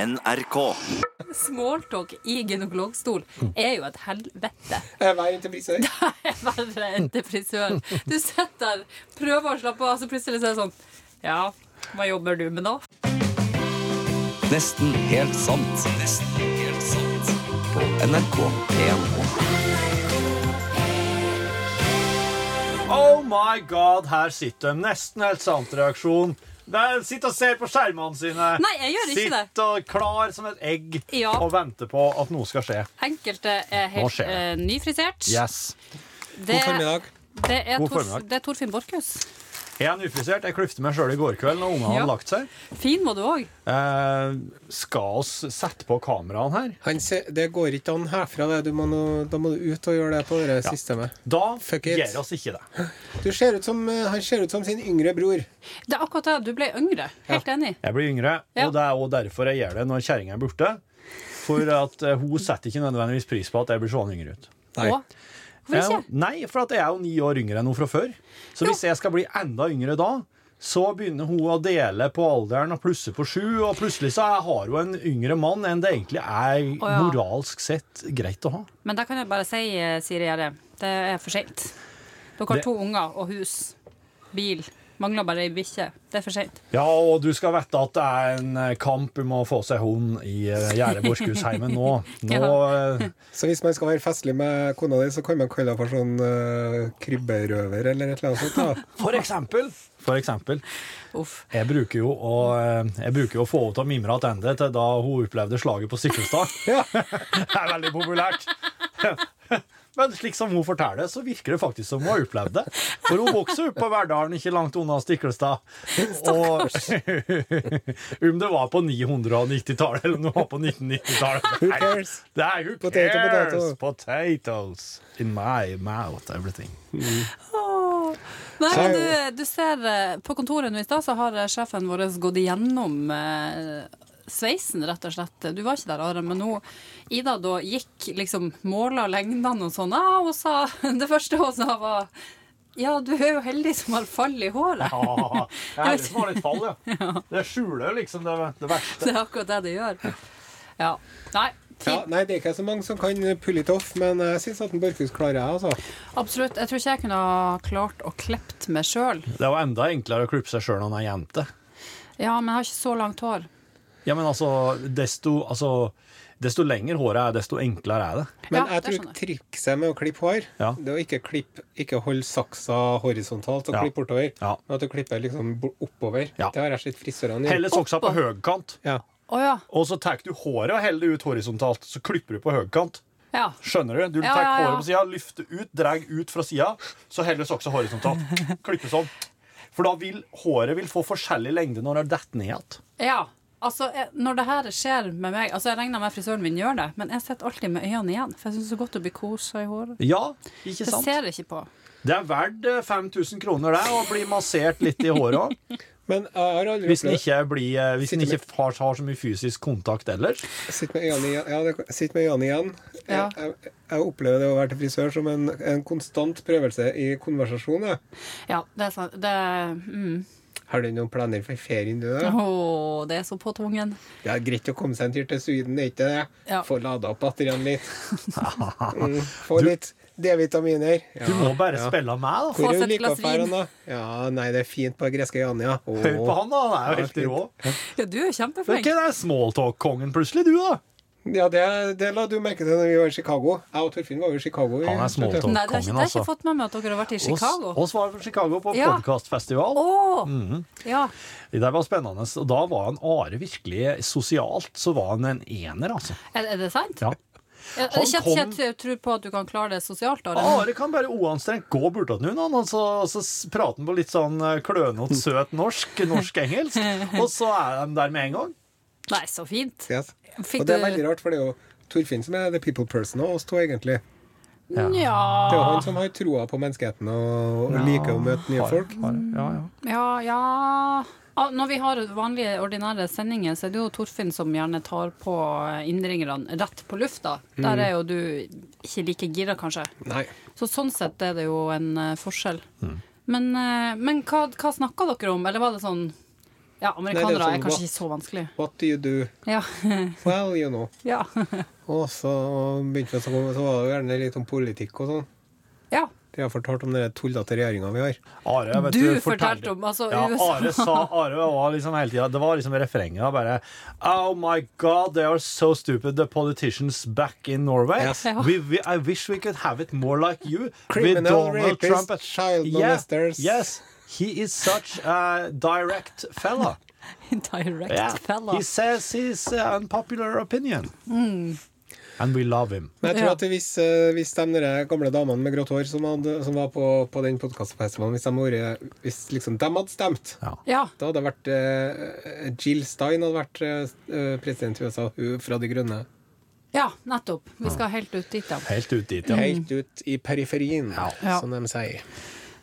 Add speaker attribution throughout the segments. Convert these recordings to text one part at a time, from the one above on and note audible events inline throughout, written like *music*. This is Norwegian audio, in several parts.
Speaker 1: NRK.
Speaker 2: Smalltalk i gynekologstol er jo et helvete. *laughs*
Speaker 3: Eh, Veien til frisør.
Speaker 2: Det er verre enn til frisøren. Du sitter der, prøver å slappe av, så plutselig så er det sånn Ja, hva jobber du med nå?
Speaker 1: Nesten helt sant. Nesten helt sant. På NRK P1.
Speaker 4: Oh my god, her sitter de. Nesten helt sant reaksjon. Der, sitt og ser på skjermene sine.
Speaker 2: Nei, jeg gjør ikke det.
Speaker 4: Sitt og klar som et egg
Speaker 2: Ja.
Speaker 4: og venter på at noe skal skje.
Speaker 2: Enkelte er
Speaker 4: Nå
Speaker 2: helt
Speaker 4: skjer det.
Speaker 2: eh, nyfrisert.
Speaker 4: Yes.
Speaker 2: Det,
Speaker 3: God formiddag.
Speaker 2: det, er
Speaker 4: God
Speaker 2: Torf,
Speaker 4: formiddag.
Speaker 2: det er Torfinn Borchhus.
Speaker 4: Jeg er nyfrisert. Jeg kløfte meg sjøl i går kveld når ungene
Speaker 2: Ja.
Speaker 4: hadde lagt seg.
Speaker 2: Fin må du òg.
Speaker 4: Eh, skal oss sette på kameraene her?
Speaker 3: Han ser, det går ikke an herfra, det. Du må nå, da må du ut og gjøre det på det systemet.
Speaker 4: Da
Speaker 3: Fuck it.
Speaker 4: gjør oss ikke det.
Speaker 3: Du ser ut som, eh, han ser ut som sin yngre bror.
Speaker 2: Det er akkurat det. Du ble yngre. Helt enig.
Speaker 4: Jeg blir yngre,
Speaker 2: Ja.
Speaker 4: og det er òg derfor jeg gjør det når kjerringa er borte. For at eh, hun setter ikke nødvendigvis pris på at jeg blir sånn yngre ut.
Speaker 3: Nei.
Speaker 2: Og, hvorfor
Speaker 4: Ja,
Speaker 2: ikke?
Speaker 4: Nei, for at jeg er jo ni år yngre enn hun fra før. Så hvis jeg skal bli enda yngre da, så begynner hun å dele på alderen og plusse på sju, og plutselig så er- har hun en yngre mann enn det egentlig er
Speaker 2: ja.
Speaker 4: moralsk sett greit å ha.
Speaker 2: Men da kan jeg bare si, eh, Siri Gjerde, det er for sent. Dere har
Speaker 4: Det-
Speaker 2: to unger og hus. Bil. Mangler bare ei bikkje. Det er for sent.
Speaker 4: Ja, og du skal vite at det er en eh, kamp om å få seg hund i eh, Gjerde Borchhusheimen nå.
Speaker 2: *laughs*
Speaker 4: Nå eh,
Speaker 3: Så hvis man skal være festlig med kona di, så kan man kalle henne for sånn eh, krybberøver eller et eller annet sånt. da.
Speaker 4: For eksempel. For eksempel.
Speaker 2: Uff.
Speaker 4: Jeg bruker jo å, eh, jeg bruker jo å få henne til å mimre tilbake til da hun opplevde slaget på Stiklestad. *laughs* Det er veldig populært. *laughs* Men slik som hun forteller, så virker det faktisk som hun har opplevd det. For hun vokser opp på Verdalen, ikke langt unna Stiklestad. Og *laughs* om det var på 990-tallet eller om det var på 1990-tallet
Speaker 3: Who
Speaker 4: nei,
Speaker 3: cares?
Speaker 4: Det er who
Speaker 3: Potato,
Speaker 4: cares?
Speaker 3: potato.
Speaker 4: Potatoes in my mouth,
Speaker 3: *laughs*
Speaker 4: everything.
Speaker 2: Nei,
Speaker 3: Så-
Speaker 2: men du, du ser eh, På kontoret nå i stad så har eh, sjefen vår gått igjennom eh, sveisen, rett og slett. Du var ikke der, Are, men nå Ida da gikk liksom måla lengdene og sånn. Ah, hun sa *laughs* Det første hun sa, var Ja, du er jo heldig som har fall i håret. *laughs*
Speaker 4: Ah, det er det som har litt fall, ja. Det skjuler jo liksom det, det verste.
Speaker 2: Det er akkurat det det gjør. Ja. Nei.
Speaker 3: Ja,
Speaker 2: Fint.
Speaker 3: nei, det er ikke så mange som kan pull it off, men jeg syns at en Borchhus klarer jeg, altså.
Speaker 2: Absolutt. Jeg tror ikke jeg kunne ha klart å klept meg sjøl.
Speaker 4: Det var enda enklere å klippe seg sjøl når han er jente.
Speaker 2: Ja, men jeg har ikke så langt hår.
Speaker 4: Ja, men altså, desto, altså, desto lenger håret er, desto enklere er det.
Speaker 3: Men
Speaker 2: Ja,
Speaker 3: jeg
Speaker 2: det
Speaker 3: tror
Speaker 2: skjønner
Speaker 3: trikset med å klippe hår,
Speaker 4: Ja.
Speaker 3: det er å ikke klippe Ikke holde saksa horisontalt og
Speaker 4: Ja.
Speaker 3: klippe bortover,
Speaker 4: Ja.
Speaker 3: men at du klipper liksom bo- oppover.
Speaker 4: Ja.
Speaker 3: Det har jeg sett frisørene gjøre.
Speaker 4: Heller soksa på høykant,
Speaker 3: Ja.
Speaker 2: Å ja.
Speaker 4: og så tar du håret og heller det ut horisontalt. Så klipper du på høykant.
Speaker 2: Ja.
Speaker 4: Skjønner du? Du
Speaker 2: Ja,
Speaker 4: tar
Speaker 2: ja, ja.
Speaker 4: håret på sida, løfter ut, drar ut fra sida, så heller soksa horisontalt. Klipper sånn. For da vil håret vil få forskjellig lengde når det detter ned igjen.
Speaker 2: ja. Altså, jeg, når det her skjer med meg Altså, jeg regner med frisøren min gjør det, men jeg sitter alltid med øynene igjen. For jeg syns det er så godt å bli kosa i håret.
Speaker 4: Ja, ikke
Speaker 2: Det
Speaker 4: sant?
Speaker 2: ser jeg ikke på.
Speaker 4: Det er verdt eh, 5000 kroner, det, å bli massert litt i håret òg.
Speaker 3: Men jeg har aldri
Speaker 4: Hvis en ikke, blir, eh, hvis en
Speaker 3: Sitter
Speaker 4: ikke har, har så mye fysisk kontakt ellers.
Speaker 3: Sitt med øynene igjen. Ja, det, sitt med øynene igjen.
Speaker 2: Ja.
Speaker 3: Jeg, jeg, jeg opplever det å være til frisør som en, en konstant prøvelse i konversasjon. jeg.
Speaker 2: Ja, det er sant. Det mm.
Speaker 3: Har du noen planer for ferien, du? da?
Speaker 2: Å, det er så på tungen.
Speaker 3: Det er greit å komme seg en tur til Syden, er ikke det?
Speaker 2: Ja.
Speaker 3: Få lada opp batteriene
Speaker 4: *laughs*
Speaker 3: litt. Mm, få litt D-vitaminer. Ja.
Speaker 4: Du må bare spille meg, da.
Speaker 2: Få
Speaker 3: Hvor
Speaker 2: oss
Speaker 3: er
Speaker 2: et glass
Speaker 3: Ulikaffæren,
Speaker 2: vin.
Speaker 3: da? Ja, nei, det er fint på greske Janja. Åh.
Speaker 4: Høy på han, da. Han er jo helt rå.
Speaker 2: Ja, du er
Speaker 4: Det er
Speaker 2: kjempeflink.
Speaker 4: ikke det smalltalk-kongen plutselig, du, da.
Speaker 3: Ja, det, det la du merke til når vi var i Chicago. Jeg og Torfinn var jo i Chicago. i-
Speaker 4: Han er smalltalk.
Speaker 2: Nei, det har ikke, det har jeg
Speaker 4: Kongen, altså.
Speaker 2: ikke fått med meg at dere har vært i Chicago.
Speaker 4: Oss, oss var fra Chicago på
Speaker 2: Ja.
Speaker 4: podcastfestival.
Speaker 2: Å!
Speaker 4: Mm-hmm.
Speaker 2: Ja.
Speaker 4: Det der var spennende. Og da var han Are virkelig sosialt, så var han en ener, altså.
Speaker 2: Er, er det sant?
Speaker 4: Ja.
Speaker 2: Jeg,
Speaker 4: Han
Speaker 2: ikke,
Speaker 4: kom-
Speaker 2: ikke jeg tror på at du kan klare det sosialt, Are.
Speaker 4: Are kan bare uanstrengt gå bortåt nå, han, og så, så s- prater han på litt sånn eh, klønete, søt norsk, norsk-engelsk,
Speaker 2: *laughs*
Speaker 4: og så er de der med en gang.
Speaker 2: Nei, så fint.
Speaker 3: Yes.
Speaker 2: Fikk
Speaker 3: Og det er
Speaker 2: du-
Speaker 3: veldig rart, for det er jo Torfinn som er the people person og oss to, egentlig. Det er jo
Speaker 2: Ja.
Speaker 3: han som har troa på menneskeheten og, og liker å møte nye folk.
Speaker 4: Ja, ja.
Speaker 2: ja, ja. Ah, Når vi har vanlige, ordinære sendinger, så er det jo Torfinn som gjerne tar på eh, innringerne rett på lufta.
Speaker 3: Mm.
Speaker 2: Der er jo du ikke like gira, kanskje.
Speaker 3: Nei.
Speaker 2: Så sånn sett er det
Speaker 3: Mm.
Speaker 2: jo en eh, forskjell. Men, eh, men hva, hva snakka dere om? Eller var det sånn Ja, amerikanere
Speaker 3: Nei, det er
Speaker 2: er
Speaker 3: sånn,
Speaker 2: kanskje
Speaker 3: hva-
Speaker 2: ikke så vanskelig.
Speaker 3: What do you do?
Speaker 2: Ja. *laughs*
Speaker 3: Well, you know.
Speaker 2: ja.
Speaker 3: Og så begynte vi å snakke om, så var det jo gjerne litt om politikk og sånn.
Speaker 2: ja.
Speaker 3: De har fortalt om den tullete regjeringa vi har.
Speaker 4: Are, vet
Speaker 2: Du
Speaker 4: du,
Speaker 2: fortalte om, altså,
Speaker 4: ja,
Speaker 2: USA.
Speaker 3: ah.
Speaker 4: Are sa Are var liksom hele tiden, Det var liksom refrenget. da, Bare Oh my God, they are so stupid, the politicians back in Norway.
Speaker 3: Yes.
Speaker 2: Ja.
Speaker 4: We, we, I wish we could have it more like you. with
Speaker 3: Criminal
Speaker 4: Donald
Speaker 3: rapists,
Speaker 4: Trump. and-"
Speaker 3: child
Speaker 4: Yeah,
Speaker 3: molesters.
Speaker 4: Yes, he is such a direct fella.
Speaker 2: *laughs* Direct
Speaker 4: Yeah.
Speaker 2: fella.
Speaker 4: He says his uh, unpopular opinion.
Speaker 2: Mm.
Speaker 4: And we love him.
Speaker 3: Men jeg tror
Speaker 2: Ja.
Speaker 3: at hvis, eh, hvis de der gamle damene med grått hår som, hadde, som var på, på den podkastfestivalen, hvis, de hadde vært- hvis liksom, de hadde stemt
Speaker 2: Ja.
Speaker 3: Da hadde det vært eh, Jill Stein hadde vært eh, president i USA, hun fra De grønne.
Speaker 2: ja, nettopp. Vi skal helt ut dit, da.
Speaker 4: Helt ut dit, ja.
Speaker 3: Helt ut i periferien,
Speaker 2: Ja.
Speaker 3: som de sier.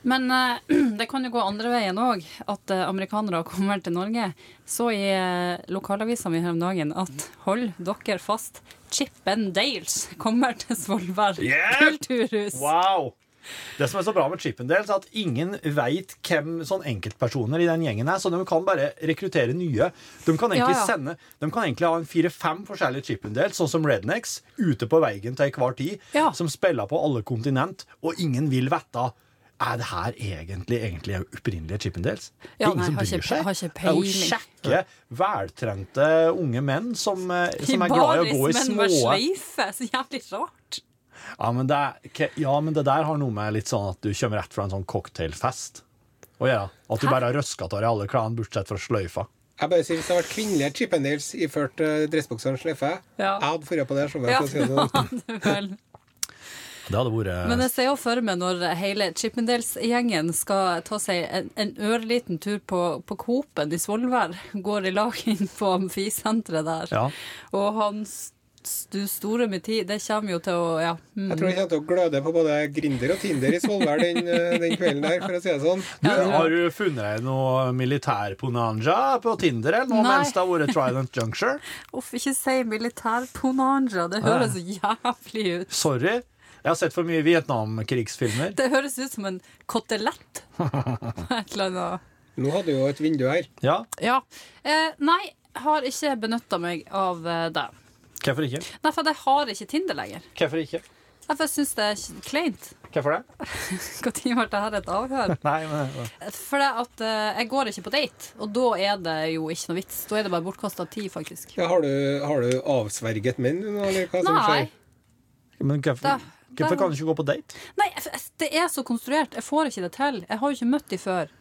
Speaker 2: Men eh, *clears throat* det kan jo gå andre veien òg, at eh, amerikanere kommer til Norge. Så i uh, lokalavisa mi her om dagen at hold dere fast, Chip and Dales kommer til Svolvær
Speaker 4: Yeah!
Speaker 2: kulturhus.
Speaker 4: Wow! Det som er så bra med Chippendales, er at ingen veit hvem sånn enkeltpersoner i den gjengen er, så de kan bare rekruttere nye. De kan
Speaker 2: Ja,
Speaker 4: egentlig,
Speaker 2: ja.
Speaker 4: Sende, de kan egentlig ha en fire-fem forskjellige Chippendales, sånn som Rednecks, ute på veien til hver tid,
Speaker 2: Ja.
Speaker 4: som spiller på alle kontinent, og ingen vil vite er det her egentlig, egentlig opprinnelige Chippendales?
Speaker 2: Ja,
Speaker 4: det er ingen
Speaker 2: nei,
Speaker 4: som
Speaker 2: har ikke
Speaker 4: bryr
Speaker 2: pe-
Speaker 4: seg.
Speaker 2: har ikke
Speaker 4: det er jo
Speaker 2: peiling.
Speaker 4: kjekke, veltrente unge menn som, eh, som er glad i å gå i
Speaker 2: Baris, men
Speaker 4: små
Speaker 2: med sleife. Så jævlig rart.
Speaker 4: ja men, det, er- ke- ja, men det der har noe med litt sånn at du kommer rett fra en sånn cocktailfest. Å gjøre. At du bare har røska av deg alle klærne bortsett fra sløyfa.
Speaker 3: Jeg bare sier Hvis det hadde vært kvinnelige Chippendales iført uh, dressbuksene sløyfe,
Speaker 2: Ja.
Speaker 3: jeg hadde dratt på det showet.
Speaker 2: Ja, *laughs*
Speaker 3: for å si det sånn.
Speaker 2: det er vel.
Speaker 4: Det hadde vært eh,
Speaker 2: Men jeg ser jo for meg når hele Chippendales-gjengen skal ta seg en, en ørliten tur på, på Coop-en i Svolvær, går i lag inn på amfisenteret der.
Speaker 4: Ja.
Speaker 2: Og han s- stu store med tid, det kommer jo til å ja. mm.
Speaker 3: Jeg tror det kommer til å gløde på både Grinder og Tinder i Svolvær den, eh, den kvelden der, for å si det sånn.
Speaker 4: du, har du funnet deg noe militærponanja på Tinder eller noe
Speaker 2: Nei.
Speaker 4: mens det har vært Trident Juncture?
Speaker 2: Uff, ikke si militærponanja, det høres jævlig ut.
Speaker 4: Sorry. Jeg har sett for mye Vietnamkrigsfilmer.
Speaker 2: Det høres ut som en *laughs* kotelett. Et eller annet.
Speaker 3: Nå hadde du jo et vindu her.
Speaker 4: Ja,
Speaker 2: Ja. Eh, nei, har ikke benytta meg av eh, det.
Speaker 4: hvorfor ikke?
Speaker 2: Nei, for jeg har ikke Tinder lenger.
Speaker 4: Hvorfor ikke?
Speaker 2: Derfor syns jeg det er kleint. *laughs*
Speaker 4: Hvorfor det?
Speaker 2: Når ble det her et avhør?
Speaker 4: Nei, men
Speaker 2: For det at eh, jeg går ikke på date, og da er det jo ikke noe vits. Da er det bare bortkasta tid, faktisk.
Speaker 3: Ja, har, du, har du avsverget menn, nå, eller hva som
Speaker 2: Nei.
Speaker 3: skjer?
Speaker 4: Men
Speaker 2: Da-
Speaker 4: hvorfor,
Speaker 2: da-
Speaker 4: hvorfor kan du ikke gå på date?
Speaker 2: Nei, f- f- det er så konstruert. Jeg får ikke det til. Jeg har jo ikke møtt de før.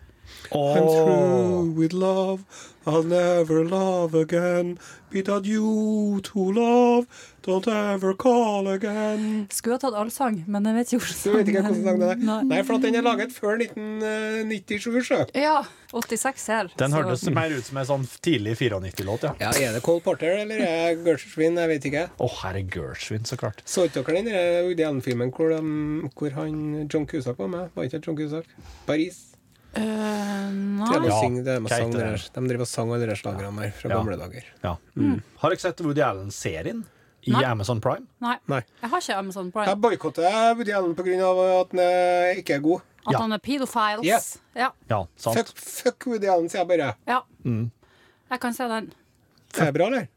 Speaker 3: I'm
Speaker 4: Åh.
Speaker 3: through with love, I'll never love again. Be that you to love, don't ever call again.
Speaker 2: Skulle ha tatt allsang, men jeg vet ikke hvordan
Speaker 3: Du vet ikke hvordan sang det er?
Speaker 2: Nei.
Speaker 3: Nei, for at den er laget før eh, 1997, sjø.
Speaker 2: Ja. 86 her.
Speaker 4: Den
Speaker 2: så-
Speaker 4: hørtes mer ut som en sånn tidlig 94-låt, ja.
Speaker 3: Ja, er det Cole Porter eller er det Gershwin? Jeg vet ikke.
Speaker 4: Å, her er Gershwin, så klart.
Speaker 3: Så dere den der Woody Allen-filmen hvor, de- hvor han John Cusack var med? Var ikke det John Cusack? Paris?
Speaker 2: Eh,
Speaker 3: Det
Speaker 2: nei.
Speaker 3: er
Speaker 4: Ja,
Speaker 3: ja, det er med
Speaker 4: hva
Speaker 3: sang,
Speaker 4: heter
Speaker 3: det der.
Speaker 4: det?
Speaker 3: De driver og sang alle de slagerne der fra
Speaker 4: Ja.
Speaker 3: gamle dager.
Speaker 4: Ja.
Speaker 3: Mm.
Speaker 4: Mm. Har dere sett Woody Allen-serien i
Speaker 2: Nei.
Speaker 4: Amazon Prime?
Speaker 2: nei.
Speaker 3: Nei.
Speaker 2: Jeg har ikke Amazon Prime.
Speaker 3: Jeg boikotter Woody Allen pga. at han eh, ikke er god.
Speaker 2: At
Speaker 4: Ja.
Speaker 2: han er pedofiles.
Speaker 3: Yes.
Speaker 2: Ja.
Speaker 4: Ja,
Speaker 3: Fuck,
Speaker 4: sant?
Speaker 3: fuck Woody Allen, sier jeg bare.
Speaker 2: ja.
Speaker 3: Mm.
Speaker 2: Jeg kan se den.
Speaker 3: Det er bra, eller?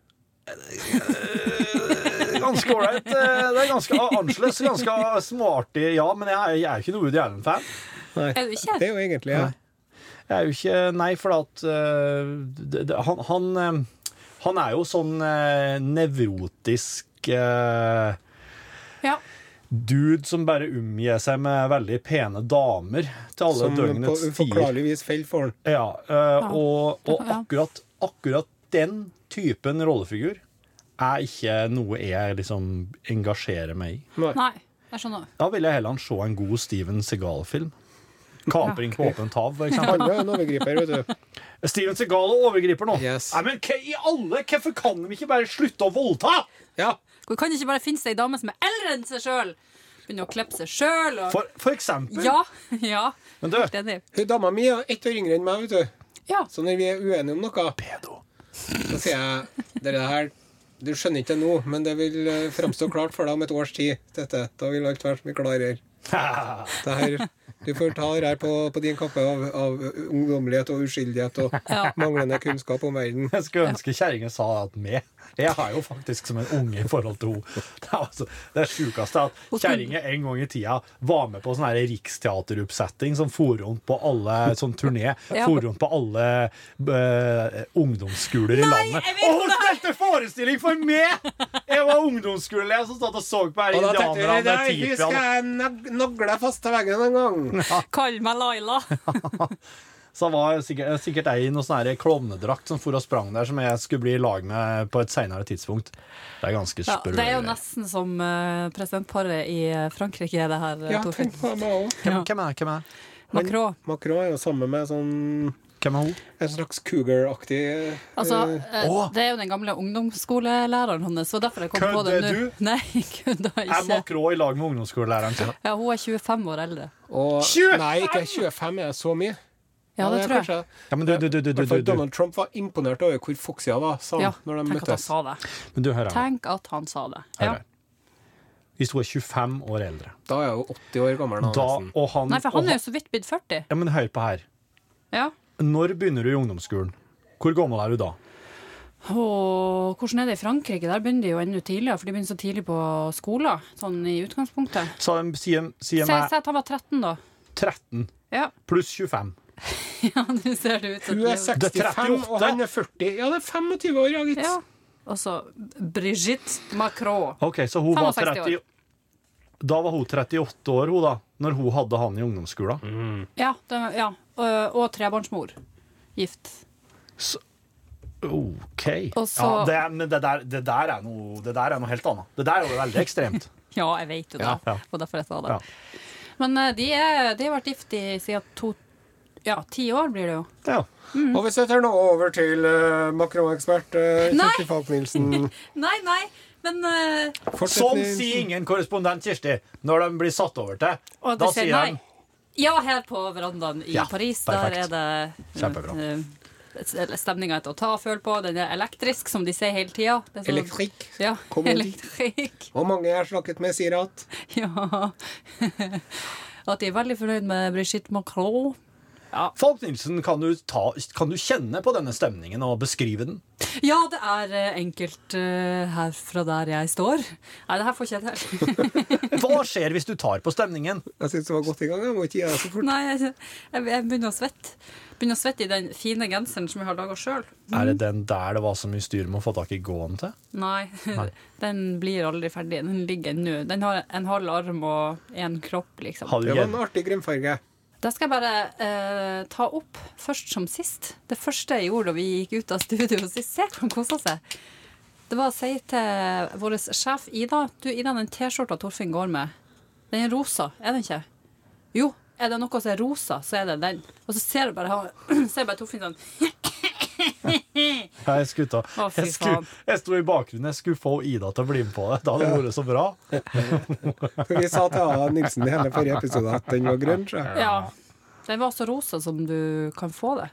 Speaker 4: Ganske ålreit. eh, Det
Speaker 3: *laughs*
Speaker 4: er ganske annerledes, ganske smarty, ja. Men jeg er, jeg er ikke noe Woody Allen-fan.
Speaker 2: Er du ikke?
Speaker 3: Det er jo egentlig ja.
Speaker 4: Jeg er jo ikke Nei, for at eh, det, det, han, han, eh, han er jo sånn eh, nevrotisk eh,
Speaker 2: Ja.
Speaker 4: dude som bare omgir seg med veldig pene damer til alle
Speaker 3: Som på
Speaker 4: døgnets tider.
Speaker 3: uforklarlig vis feil for han.
Speaker 4: Ja, eh, og, og
Speaker 2: Ja.
Speaker 4: akkurat, akkurat den typen rollefigur er ikke noe jeg liksom engasjerer meg i.
Speaker 2: Nei. Jeg skjønner.
Speaker 4: Da vil jeg heller se en god Steven Segal-film. 'Kapring på åpent hav', for eksempel.
Speaker 3: *laughs* Han er jo en overgriper, vet du.
Speaker 4: Steven Segal er overgriper nå.
Speaker 3: Yes.
Speaker 4: Nei, men hva i alle Hvorfor kan de ikke bare slutte å voldta?
Speaker 3: Ja.
Speaker 2: Hvor kan det ikke bare finnes ei dame som er eldre enn seg sjøl? Begynner å kleppe seg sjøl og
Speaker 4: For, for eksempel.
Speaker 2: Ja, *laughs* ja.
Speaker 4: Men du,
Speaker 2: Helt enig.
Speaker 3: Hun dama mi er ett år yngre enn meg, vet du.
Speaker 2: Ja.
Speaker 3: Så når vi er uenige om noe,
Speaker 4: pedo.
Speaker 3: så sier jeg dere her Du skjønner ikke det nå, men det vil eh, framstå klart for deg om et års tid. Dette. Da vil alt være som vi klarer. Det her Du får ta her på, på din kappe av, av ungdommelighet og uskyldighet og
Speaker 2: Ja.
Speaker 3: manglende kunnskap om verden.
Speaker 4: Jeg skulle ønske kjerringa sa at meg. Jeg har jo faktisk som en unge i forhold til henne. Det er altså det sjukeste er at kjerringa en gang i tida var med på sånn her riksteateroppsetting som for rundt på alle som turné.
Speaker 2: Ja.
Speaker 4: For rundt på alle eh, ungdomsskoler i landet.
Speaker 2: jeg vet
Speaker 4: Og hun spilte forestilling for meg! Jeg var ungdomsskoleelev som satt og så på her
Speaker 3: Og da tenkte
Speaker 4: indianerne
Speaker 3: jeg
Speaker 4: med
Speaker 3: nei, husker
Speaker 4: tipian.
Speaker 3: jeg nag- nagla fast til veggen en *laughs* gang.
Speaker 2: Kall meg Laila.
Speaker 4: Så var sikkert, sikkert ei i noe sånn her klovnedrakt som for og sprang der, som jeg skulle bli i lag med på et seinere tidspunkt. Det er ganske
Speaker 2: Ja,
Speaker 4: sprø.
Speaker 2: det er jo
Speaker 4: greier.
Speaker 2: nesten som eh, presidentparet i eh, Frankrike, det her, eh,
Speaker 3: Ja,
Speaker 2: Torfinn.
Speaker 3: tenk på meg òg.
Speaker 4: Hvem,
Speaker 2: Ja.
Speaker 4: hvem er hvem er
Speaker 2: Macron.
Speaker 3: Macron er jo sammen med sånn
Speaker 4: Hvem er hun?
Speaker 3: en slags cougar-aktig eh,
Speaker 2: Altså, eh,
Speaker 4: Åh!
Speaker 2: det er jo den gamle ungdomsskolelæreren hans, og derfor jeg kom på det
Speaker 4: Kødder
Speaker 2: nå.
Speaker 4: du?
Speaker 2: Nei, *laughs* kødda
Speaker 4: Er
Speaker 2: ikke.
Speaker 4: Macron i lag med ungdomsskolelæreren sin?
Speaker 2: Ja, hun er 25 år eldre.
Speaker 3: og,
Speaker 4: 25?
Speaker 3: Nei, ikke 25 er så mye.
Speaker 2: Ja, det tror jeg.
Speaker 4: Ja, men du, du, du, du,
Speaker 3: I hvert
Speaker 4: du,
Speaker 3: fall
Speaker 4: du.
Speaker 3: Donald Trump var imponert over hvor foxy han var sa han,
Speaker 2: Ja,
Speaker 3: når de
Speaker 2: tenk at han
Speaker 3: møttes.
Speaker 2: sa det.
Speaker 4: Men du hører her.
Speaker 2: Tenk at han sa det.
Speaker 4: Hør
Speaker 2: Ja.
Speaker 4: her. Hvis hun er 25 år eldre
Speaker 3: Da er jeg jo 80 år gammel. nå,
Speaker 4: da,
Speaker 3: nesten.
Speaker 4: og han,
Speaker 2: Nei, for
Speaker 4: og
Speaker 2: han er jo så vidt blitt 40.
Speaker 4: Ja, men hør på her.
Speaker 2: Ja.
Speaker 4: Når begynner du i ungdomsskolen? Hvor gammel er du da?
Speaker 2: Og hvordan er det i Frankrike? Der begynner de jo enda tidligere, for de begynner så tidlig på skolen, sånn i utgangspunktet.
Speaker 4: Så de sier, sier
Speaker 2: Se, se
Speaker 4: meg
Speaker 2: at han var 13 da.
Speaker 4: 13
Speaker 2: Ja, *laughs*
Speaker 4: pluss 25.
Speaker 2: ja nå ser det ut som
Speaker 3: Hun
Speaker 2: det
Speaker 3: er
Speaker 2: er-
Speaker 3: 65, og
Speaker 4: 38.
Speaker 3: han er 40. Ja, det er 25 år, ja, gitt.
Speaker 2: Ja. Og så Brigitte Macron.
Speaker 4: Ok, så hun var
Speaker 2: 65 år.
Speaker 4: 30 Da var hun 38 år, hun da. Når hun hadde han i ungdomsskolen.
Speaker 2: Ja, det, ja. Og, og trebarnsmor. Gift.
Speaker 4: OK.
Speaker 2: Og så-
Speaker 4: Ja, det, men det der, det, der er noe, det der er noe helt annet. Det der er jo veldig
Speaker 2: *laughs*
Speaker 4: ekstremt.
Speaker 2: Ja, jeg vet jo det.
Speaker 4: Ja, ja.
Speaker 2: Og derfor jeg sa det.
Speaker 4: Ja.
Speaker 2: Men eh, de, er, de har vært gift i siden to Ja, ti år blir det jo.
Speaker 4: Ja.
Speaker 3: Og vi setter nå over til uh, makronekspert uh,
Speaker 2: Nei!
Speaker 3: Kirsti
Speaker 2: *laughs*
Speaker 3: Falk-Nielsen.
Speaker 2: Nei, nei, men eh,
Speaker 4: Sånn sier ingen korrespondent, Kirsti, når de blir satt over til.
Speaker 2: Og
Speaker 4: Da
Speaker 2: de sier
Speaker 4: sier
Speaker 2: nei.
Speaker 4: han
Speaker 2: Ja, her på verandaen i
Speaker 4: Ja,
Speaker 2: Paris.
Speaker 4: perfekt.
Speaker 2: Der er
Speaker 4: Kjempebra.
Speaker 2: det uh, stemninga etter å ta og føle på. Den er elektrisk, som de sier hele tida.
Speaker 3: Elektrikk.
Speaker 2: sånn- Ja, *laughs*
Speaker 3: Kom igjen.
Speaker 2: elektrikk.
Speaker 3: Og mange jeg har snakket med, sier at
Speaker 2: *laughs* Ja. At de er veldig fornøyd med Brigitte Macron.
Speaker 4: Falk Nilsen, kan du, ta, kan du kjenne på denne stemningen og beskrive den?
Speaker 2: Ja, det er eh, enkelt eh, her fra der jeg står. Nei, det her får ikke jeg til. *laughs*
Speaker 4: Hva skjer hvis du tar på stemningen?
Speaker 3: Jeg syns det var godt i gang. Jeg må ikke gi deg så fort.
Speaker 2: Nei, jeg, jeg, jeg begynner å svette. Begynner å svette i den fine genseren som jeg har laga sjøl.
Speaker 4: Er det den der det var så mye styr med å få tak i gåen til?
Speaker 2: Nei, *laughs* den blir aldri ferdig. Den ligger ennå. Den har en halv arm og en kropp, liksom.
Speaker 4: Har du
Speaker 3: Det var en
Speaker 4: gjen-
Speaker 3: artig grønnfarge.
Speaker 2: Da skal jeg bare eh, ta opp først som sist. Det første jeg gjorde da vi gikk ut av studio sist, se hvor han kosa seg. Det var å si til vår sjef Ida Du, Ida, den T-skjorta Torfinn går med, den er rosa, er den ikke? Jo, er det noe som er rosa, så er det den. Og så ser du bare, han- *clears throat* ser bare Torfinn sånn
Speaker 4: Nei, jeg skulle ta-
Speaker 2: Å, fy
Speaker 4: Jeg, skulle,
Speaker 2: faen.
Speaker 4: jeg sto i bakgrunnen, jeg skulle få Ida til å bli med på det. Da hadde det vært så bra.
Speaker 3: For vi sa til A. Nilsen i hele forrige episode at den var grønn. Så.
Speaker 2: Ja. Den var så rosa som du kan få det.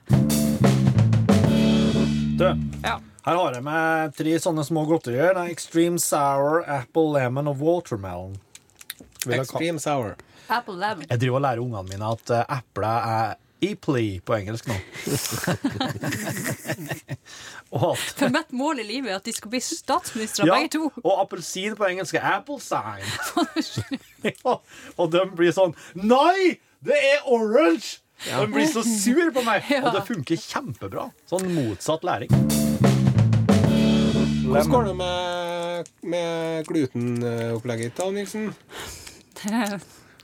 Speaker 4: Du,
Speaker 2: Ja.
Speaker 4: her har jeg med tre sånne små godterier. Det er Extreme Sour, Apple Lemon og Watermelon. Vil dere ha-
Speaker 3: Extreme sour.
Speaker 2: Apple lemon.
Speaker 4: Jeg driver og lærer ungene mine at eh, eple er epley på engelsk
Speaker 2: *laughs*
Speaker 4: nå. og at
Speaker 2: For mitt mål i livet er at de skal bli statsministre,
Speaker 4: ja,
Speaker 2: begge to.
Speaker 4: og appelsin på engelsk er apple
Speaker 2: *laughs*
Speaker 4: sign. *laughs* ja, og de blir sånn Nei, det er orange! De blir så sur på
Speaker 2: *laughs*
Speaker 4: meg. Og det funker kjempebra. Sånn motsatt læring.
Speaker 3: Hvordan går det med, med glutenopplegget ditt, A. Nilsen?
Speaker 2: Det,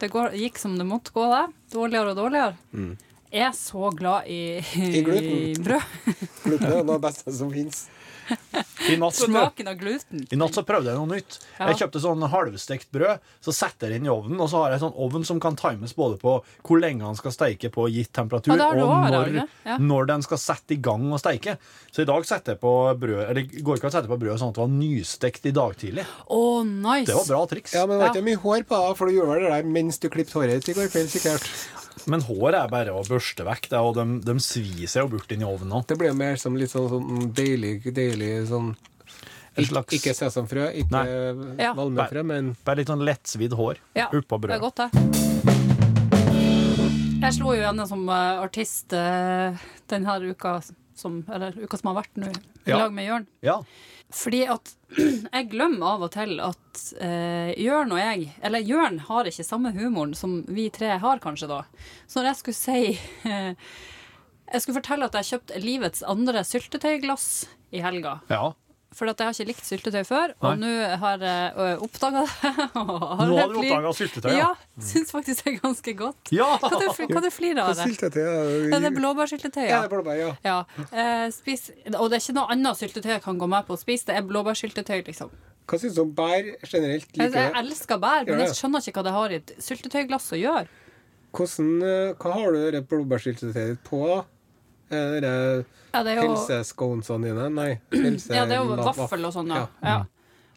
Speaker 2: det går, gikk som det måtte gå, det. Dårligere og dårligere.
Speaker 4: Mm.
Speaker 2: Jeg er så glad i,
Speaker 3: I gluten.
Speaker 2: brød.
Speaker 3: Gluten er jo noe av det beste som fins.
Speaker 4: I natt, vet du,
Speaker 2: Smaken av gluten.
Speaker 4: I natt så prøvde jeg noe nytt.
Speaker 2: Ja.
Speaker 4: Jeg kjøpte sånn halvstekt brød, så setter jeg det inn i ovnen. Og så har jeg sånn ovn som kan times både på hvor lenge han skal steike på gitt temperatur,
Speaker 2: Ja, det har du
Speaker 4: og
Speaker 2: også, har du
Speaker 4: når,
Speaker 2: det? Ja.
Speaker 4: når den skal sette i gang å steike. Så i dag setter jeg på brød, eller i går ikke sette på brød sånn at det var nystekt i dag tidlig.
Speaker 2: Å, nice!
Speaker 4: Det var bra triks.
Speaker 3: Ja, men det var ikke mye hår på deg, for du gjorde vel det der mens du klippet håret ditt i går kveld, sikkert.
Speaker 4: Men håret er bare å børste vekk, det, og de, de svir seg jo bort inn i ovnen nå.
Speaker 3: Det blir jo mer som litt sånn, sånn deilig, deilig sånn
Speaker 4: En slags-
Speaker 3: Ikke sesamfrø, ikke
Speaker 2: Ja.
Speaker 3: valmefrø, men
Speaker 4: Bare litt sånn lettsvidd hår
Speaker 2: Ja,
Speaker 4: oppå
Speaker 2: Det er
Speaker 4: brødet.
Speaker 2: godt, det. Jeg slo jo henne som eh, artist eh, denne uka som, eller uka som har vært nå, i
Speaker 4: Ja.
Speaker 2: lag med Jørn.
Speaker 4: Ja.
Speaker 2: Fordi at *clears throat* jeg glemmer av og til at eh, Jørn og jeg Eller Jørn har ikke samme humoren som vi tre har, kanskje, da. Så når jeg skulle si *laughs* eh, Jeg skulle fortelle at jeg kjøpte livets andre syltetøyglass i helga.
Speaker 4: ja.
Speaker 2: For at jeg har ikke likt syltetøy før, og nå har jeg oppdaga det. *laughs*
Speaker 4: Nå
Speaker 2: Nå
Speaker 4: har du oppdaget syltetøy,
Speaker 2: Ja.
Speaker 4: ja.
Speaker 2: Syns faktisk det er ganske godt. *laughs*
Speaker 4: Ja!
Speaker 2: Hva du, hva du flirer av det?
Speaker 3: Syltetøy er-
Speaker 2: Ja, det er blåbærsyltetøy.
Speaker 3: Ja,
Speaker 2: Ja.
Speaker 3: det er blåbær, ja.
Speaker 2: Ja. Eh, spis, og det er ikke noe annet syltetøy jeg kan gå med på å spise. Det er blåbærsyltetøy, liksom.
Speaker 3: Hva syns du om bær generelt?
Speaker 2: Jeg,
Speaker 3: Liker
Speaker 2: jeg
Speaker 3: det?
Speaker 2: elsker bær, men
Speaker 3: Ja, ja.
Speaker 2: jeg skjønner ikke hva det har i et syltetøyglass å gjøre.
Speaker 3: Hvordan, eh, hva har du det blåbærsyltetøyet ditt på? da? Eh, Er det
Speaker 2: Ja, det er jo,
Speaker 3: helsesconesene dine? Nei. helse-
Speaker 2: *clears throat* ja, det er jo
Speaker 3: la-
Speaker 2: vaffel og sånn, ja. ja.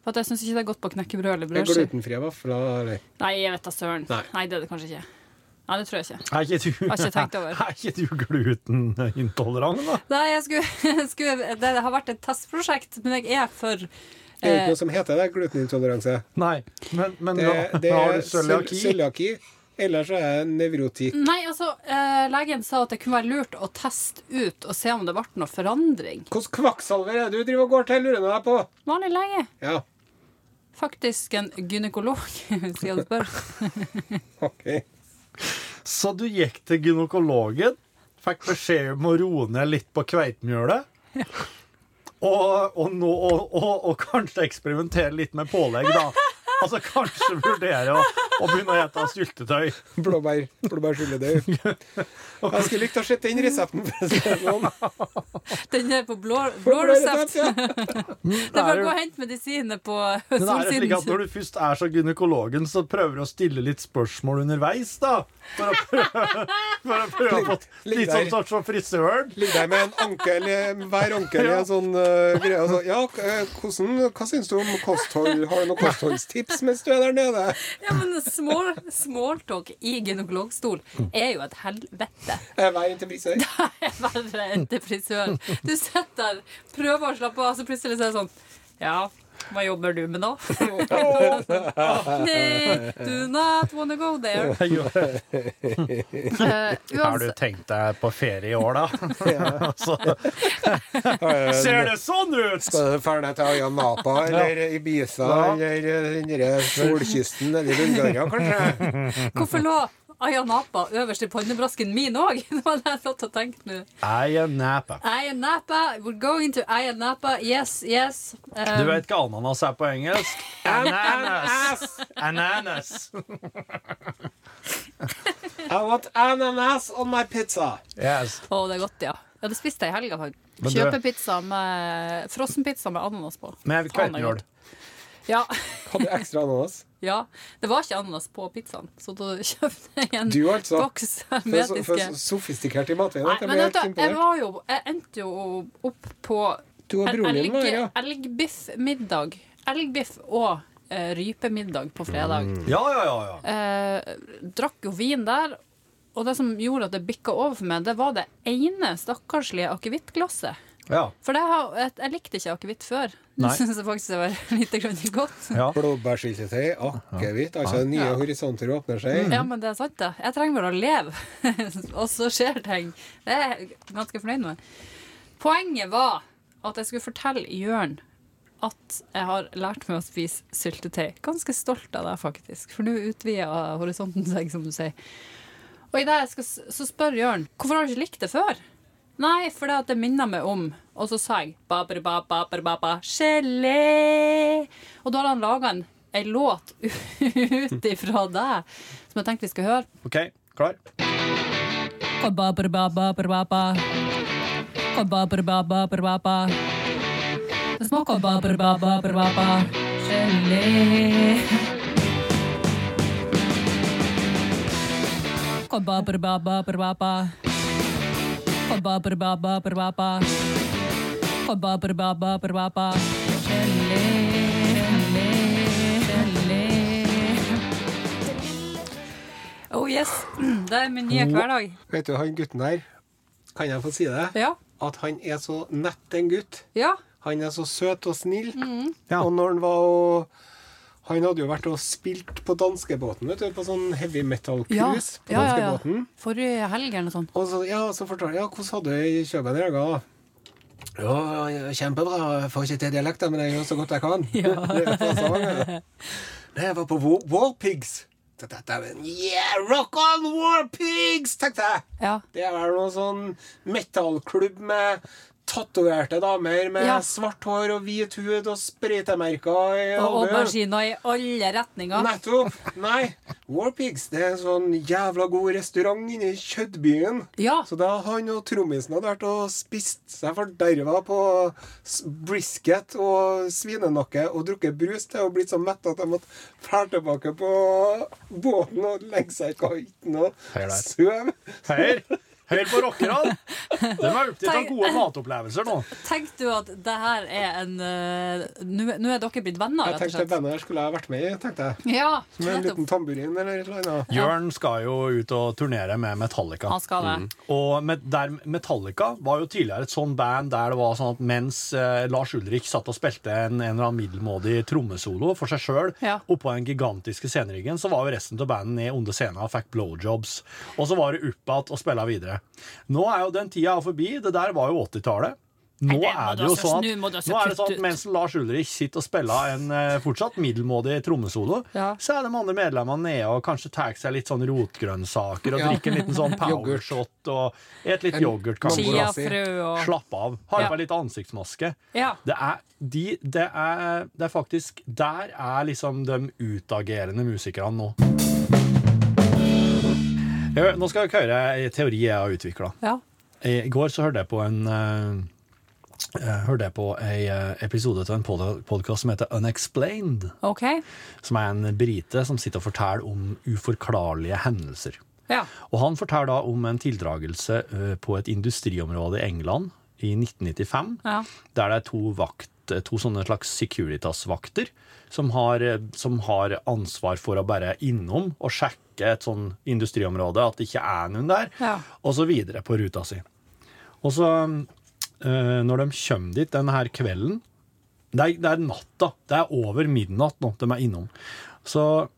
Speaker 2: For at jeg syns ikke det er godt på knekkebrød eller
Speaker 3: Er det
Speaker 2: brødskive.
Speaker 3: Glutenfrie vafler? eller?
Speaker 2: Nei, jeg vet da søren.
Speaker 3: Nei.
Speaker 2: Nei, det er det kanskje ikke. Nei, det tror jeg ikke.
Speaker 4: Er ikke du,
Speaker 2: Har ikke tenkt over.
Speaker 4: *laughs* er ikke du glutenintolerant, da?
Speaker 2: Nei, jeg skulle, *laughs* jeg skulle, det har vært et testprosjekt, men jeg er for
Speaker 3: Det
Speaker 2: Eh,
Speaker 3: er jo ikke noe som heter det, glutenintoleranse.
Speaker 4: Nei. Men, men
Speaker 3: Det,
Speaker 4: da,
Speaker 3: det
Speaker 4: da har
Speaker 3: er
Speaker 4: du cøliaki.
Speaker 3: cøliaki. Ellers så er det nevrotikk.
Speaker 2: Nei, altså, eh, legen sa at det kunne være lurt å teste ut og se om det ble noe forandring.
Speaker 3: Hvilken kvakksalver er det du driver og går til? Lurer jeg deg på.
Speaker 2: Vanlig lege.
Speaker 3: Ja,
Speaker 2: Faktisk en gynekolog, *laughs* hvis jeg hadde spør.
Speaker 3: OK. *laughs*
Speaker 4: Så du gikk til gynekologen, fikk beskjed om å roe ned litt på kveitmjølet. Og, og, nå, og, og, og kanskje eksperimentere litt med pålegg, da. Altså kanskje vurdere å, å begynne å spise syltetøy.
Speaker 3: Blåbær.
Speaker 4: *laughs*
Speaker 3: Blåbærsyltetøy. Jeg skulle likt å sett den resepten. *laughs* for å si det sånn.
Speaker 2: Den er på blå, blå resept. Det er
Speaker 4: Er
Speaker 2: bare å
Speaker 4: jo-
Speaker 2: gå og hente medisiner på
Speaker 4: Men er det slik at
Speaker 2: solsiden.
Speaker 4: når du først er så gynekologen, så prøver du å stille litt spørsmål underveis, da? For å prøve, *laughs* for å prøve å få
Speaker 3: Ligg
Speaker 4: litt sånn
Speaker 3: der.
Speaker 4: sort som frisøren?
Speaker 3: Ligger der med en ankel eh, hver ankel i en sånn eh, greie. Altså, ja, k- eh, hvordan, hva syns du om kosthold? Har du noen kostholdstips mens du er der nede?
Speaker 2: Ja, men small, smalltalk i gynekologstol er jo et helvete. *laughs*
Speaker 3: Eh, Vær inn til frisør.
Speaker 2: er verre enn til frisøren. Du sitter der, prøver å slappe av, så plutselig så er det sånn Ja, hva jobber du med da? Nei, do not wanna go
Speaker 4: *laughs*
Speaker 2: there. Eh,
Speaker 4: Har du
Speaker 2: uansett,
Speaker 4: tenkt deg på ferie i år, da? Altså, Så, ser det sånn ut!
Speaker 3: Skal du dra til Ayia Napa eller Ibiza
Speaker 4: Ja.
Speaker 3: eller eh, den derre solkysten eller Bulgaria, kanskje?
Speaker 2: hvorfor lå Aya Napa øverst i pannebrasken min òg? *laughs* Det var det jeg satt og tenkte nå.
Speaker 4: I am Napa.
Speaker 2: Aya Napa, we're going to Aya Napa. Yes, yes. Eh,
Speaker 4: Du vet hva ananas er på engelsk? Ananas. *laughs* Ananas.
Speaker 3: I want ananas on my pizza.
Speaker 4: Yes.
Speaker 2: Å, det er godt, ja. Ja, det spiste jeg i helga. faktisk.
Speaker 4: Men du-
Speaker 2: Kjøpepizza med frossenpizza med ananas på.
Speaker 4: Med
Speaker 2: Faen, det er
Speaker 4: kveitmjøl.
Speaker 2: godt. Ja. *laughs*
Speaker 3: Hadde du ekstra ananas?
Speaker 2: Ja, det var ikke ananas på pizzaen, så da *laughs* kjøpte jeg en
Speaker 3: Du, altså.
Speaker 2: boks
Speaker 3: For
Speaker 2: med
Speaker 3: så, for
Speaker 2: diske.
Speaker 3: så sofistikert i matveien
Speaker 2: Nei,
Speaker 3: at jeg
Speaker 2: men
Speaker 3: ble
Speaker 2: vet
Speaker 3: helt
Speaker 2: du, jeg
Speaker 3: imponert.
Speaker 2: var jo Jeg endte jo opp på
Speaker 3: Du og broren din
Speaker 2: elg,
Speaker 3: var her, ja.
Speaker 2: elgbiffmiddag. Elgbiff og eh, rypemiddag på fredag.
Speaker 3: Mm.
Speaker 4: Ja, ja, ja. ja.
Speaker 2: Eh, drakk jo vin der, og det som gjorde at det bikka over for meg, det var det ene stakkarslige akevittglasset.
Speaker 4: ja.
Speaker 2: For det har, jeg, jeg likte ikke akevitt før. Nå
Speaker 4: Nei.
Speaker 2: syns jeg faktisk det var *laughs* lite grann godt.
Speaker 4: ja.
Speaker 3: Blåbærsyltetøy, akevitt, altså nye
Speaker 2: Ja. Mm.
Speaker 3: horisonter åpner seg.
Speaker 2: Ja, men det er sant, det. Jeg trenger bare å leve, *laughs* og så skjer ting. Det er jeg ganske fornøyd med. Poenget var at jeg skulle fortelle Jørn at jeg har lært meg å spise syltetøy. Ganske stolt av det, faktisk. For nå utvider horisonten seg, som du sier. Og i det jeg skal, s- så spør Jørn hvorfor har du ikke likt det før. Nei, for det, at det minner meg om Og så sa jeg ba-ba-ba-ba-ba-ba, gelé. Og da hadde han laga en, en låt *laughs* ut ifra det som jeg tenkte vi skal høre.
Speaker 4: OK, klar?
Speaker 2: Ba-ba-ba-ba-ba-ba. Ba-ba-ba-ba-ba-ba. Det smaker ba-ba-ba-ba-ba. Gelé. Ba-ba-ba-ba-ba. Ba-ba-ba-ba-ba. Ba-ba-ba-ba-ba. Gelé. Gelé. Gelé. Oh yes, *clears throat* det er min nye hverdag.
Speaker 3: Vet du, han gutten der, kan jeg få si det?
Speaker 2: Ja.
Speaker 3: At han er så nett en gutt.
Speaker 2: Ja, Mm.
Speaker 3: Han er så søt og snill.
Speaker 4: Ja.
Speaker 3: Og når han var og Han hadde jo vært og spilt på danskebåten, vet du, på sånn heavy
Speaker 2: Ja,
Speaker 3: metal-cruise
Speaker 2: ja, ja,
Speaker 3: på
Speaker 2: ja.
Speaker 3: danskebåten.
Speaker 2: Forrige helg eller noe sånt.
Speaker 3: Og så, ja, så fortalte jeg, ja, hvordan hadde du i Kjøben i helga? Ja, kjempebra. Jeg får ikke til dialekten, men jeg gjør så godt jeg kan. *laughs* Det er fra Stavanger. Nei, jeg var på War- Warpigs. Dette er en- Yeah, rock on Warpigs, tenkte jeg.
Speaker 2: Ja.
Speaker 3: Det er vel noe sånn metallklubb med tatoverte damer med
Speaker 2: Ja.
Speaker 3: svart hår og hvit hud og spritemerker. i
Speaker 2: Og
Speaker 3: alle.
Speaker 2: auberginer i alle retninger.
Speaker 3: Nettopp! Nei. Warpigs det er en sånn jævla god restaurant inne i Kjøttbyen.
Speaker 2: Ja.
Speaker 3: Så da han og trommisen hadde vært og spist seg forderva på s- brisket og svinenakke og drukket brus til og blitt så mett at de måtte fære tilbake på båten og legge seg i kaiten og
Speaker 4: Hei der.
Speaker 3: sove.
Speaker 4: Hør, hør på rockerne! De er opptatt av
Speaker 2: Tenk-
Speaker 4: gode matopplevelser nå.
Speaker 2: Tenkte du at det her er en eh, Nå nå er dere blitt venner, rett
Speaker 3: Jeg
Speaker 2: og
Speaker 3: tenkte
Speaker 2: slett?
Speaker 3: bandet her skulle jeg vært med i, tenkte jeg.
Speaker 2: Ja,
Speaker 3: Med en liten
Speaker 2: nettopp.
Speaker 3: tamburin eller et eller annet.
Speaker 4: Jørn skal jo ut og turnere med Metallica.
Speaker 2: Han skal det.
Speaker 4: Og med, der Metallica var jo tidligere et sånn band der det var sånn at mens eh, Lars Ulrik satt og spilte en, en eller annen middelmådig trommesolo for seg sjøl
Speaker 2: Ja.
Speaker 4: oppå den gigantiske sceneryggen, så var jo resten av bandet ned under scenen og fikk blowjobs. Og så var det opp igjen og spilla videre. Nå er jo den tida forbi. Det der var jo 80-tallet. Nå
Speaker 2: det må
Speaker 4: er
Speaker 2: du
Speaker 4: det jo
Speaker 2: altså
Speaker 4: sånn
Speaker 2: snu, må
Speaker 4: at,
Speaker 2: du altså
Speaker 4: nå er det sånn
Speaker 2: kutte
Speaker 4: at
Speaker 2: ut.
Speaker 4: mens Lars Ulrik sitter og spiller en eh, fortsatt middelmådig trommesolo,
Speaker 2: Ja.
Speaker 4: så er de andre medlemmene nede og kanskje tar seg litt sånn rotgrønnsaker og
Speaker 3: Ja.
Speaker 4: drikker en liten
Speaker 2: *laughs*
Speaker 4: sånn
Speaker 3: Yoghurt.
Speaker 4: powershot og et litt
Speaker 3: En
Speaker 4: yoghurt, kanskje.
Speaker 3: chia.
Speaker 2: Chiafrø og
Speaker 4: Slapp av. Har
Speaker 2: Ja.
Speaker 4: på litt ansiktsmaske.
Speaker 2: Ja.
Speaker 4: Det er, de, det, er, det er faktisk Der er liksom de utagerende musikerne nå. Jeg- Nå skal dere høre en teori jeg har utvikla.
Speaker 2: ja.
Speaker 4: I går så hørte jeg på en eh, eh, hørte jeg på ei eh, episode av en podkast som heter Unexplained.
Speaker 2: OK.
Speaker 4: Som er en brite som sitter og forteller om uforklarlige hendelser.
Speaker 2: Ja.
Speaker 4: Og han forteller da om en tildragelse eh, på et industriområde i England i 1995,
Speaker 2: Ja.
Speaker 4: der det er to vakt eh, to sånne slags Securitas-vakter som, har, eh, som har ansvar for å bare innom og sjekke et sånn industriområde, at det ikke er noen der,
Speaker 2: Ja.
Speaker 4: og så videre på ruta si. Og så, eh, når de kommer dit denne her kvelden, det er, det er natta, det er over midnatt nå de er innom, så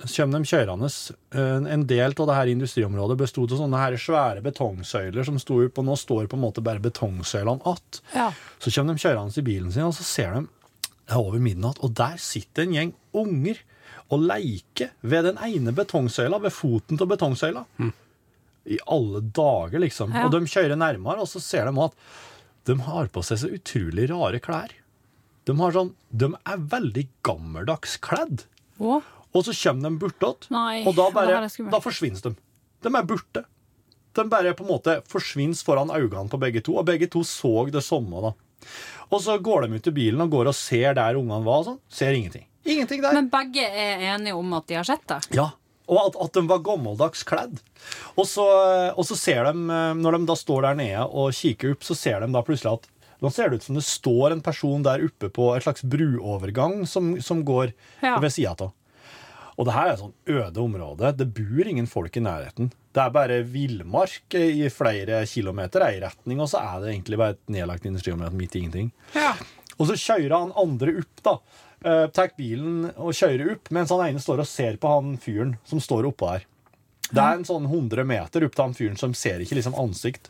Speaker 4: kommer de kjørende. En en del av det her industriområdet bestod av sånne her svære betongsøyler som sto opp, og nå står på en måte bare betongsøylene att.
Speaker 2: Ja.
Speaker 4: Så kommer de kjørende i bilen sin, og så ser de det er over midnatt, og der sitter en gjeng unger og leker ved den ene betongsøyla, ved foten av betongsøyla. I alle dager, liksom.
Speaker 2: Ja.
Speaker 4: Og de kjører nærmere, og så ser de at de har på seg så utrolig rare klær. De, har sånn, de er veldig gammeldags kledd.
Speaker 2: Å,
Speaker 4: Og så kommer de bortåt,
Speaker 2: Nei,
Speaker 4: og da,
Speaker 2: det
Speaker 4: bare,
Speaker 2: her er skummelt.
Speaker 4: da forsvinner de. De er borte. De bare på en måte forsvinner foran øynene på begge to, og begge to så det samme. da. Og så går de ut til bilen og går og ser der ungene var, og sånn. ser ingenting. Ingenting der.
Speaker 2: Men begge er enige om at de har sett det?
Speaker 4: Ja, og at, at de var gammeldags kledd. Og så, og så ser de, eh, når de da står der nede og kikker opp, så ser de da plutselig at nå ser det ut som det står en person der oppe på et slags bruovergang som, som går
Speaker 2: Ja.
Speaker 4: ved sida av. Og det her er et sånn øde område. Det bor ingen folk i nærheten. Det er bare villmark i flere kilometer i retning, og så er det egentlig bare et nedlagt industriområde midt i ingenting.
Speaker 2: Ja.
Speaker 4: Og så kjører han andre opp, da. Uh, tar bilen og kjører opp, mens han ene står og ser på han fyren som står oppå der. Det er en sånn 100 meter opp til han fyren som ser ikke liksom ansikt.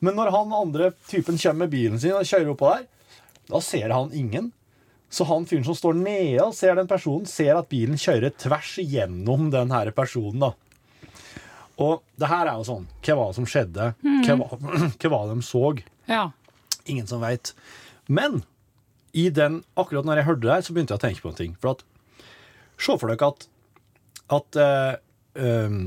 Speaker 4: Men når han andre typen kommer med bilen sin og kjører oppå der, da ser han ingen. Så han fyren som står nede og ser den personen, ser at bilen kjører tvers igjennom den her personen. da. Og det her er jo sånn Hva var det som skjedde? Hva, var, *clears throat* hva var det de så?
Speaker 2: Ja.
Speaker 4: Ingen som veit. Men i den, akkurat når jeg hørte det, her, så begynte jeg å tenke på en ting. For at, Se for dere at, at eh, ehm,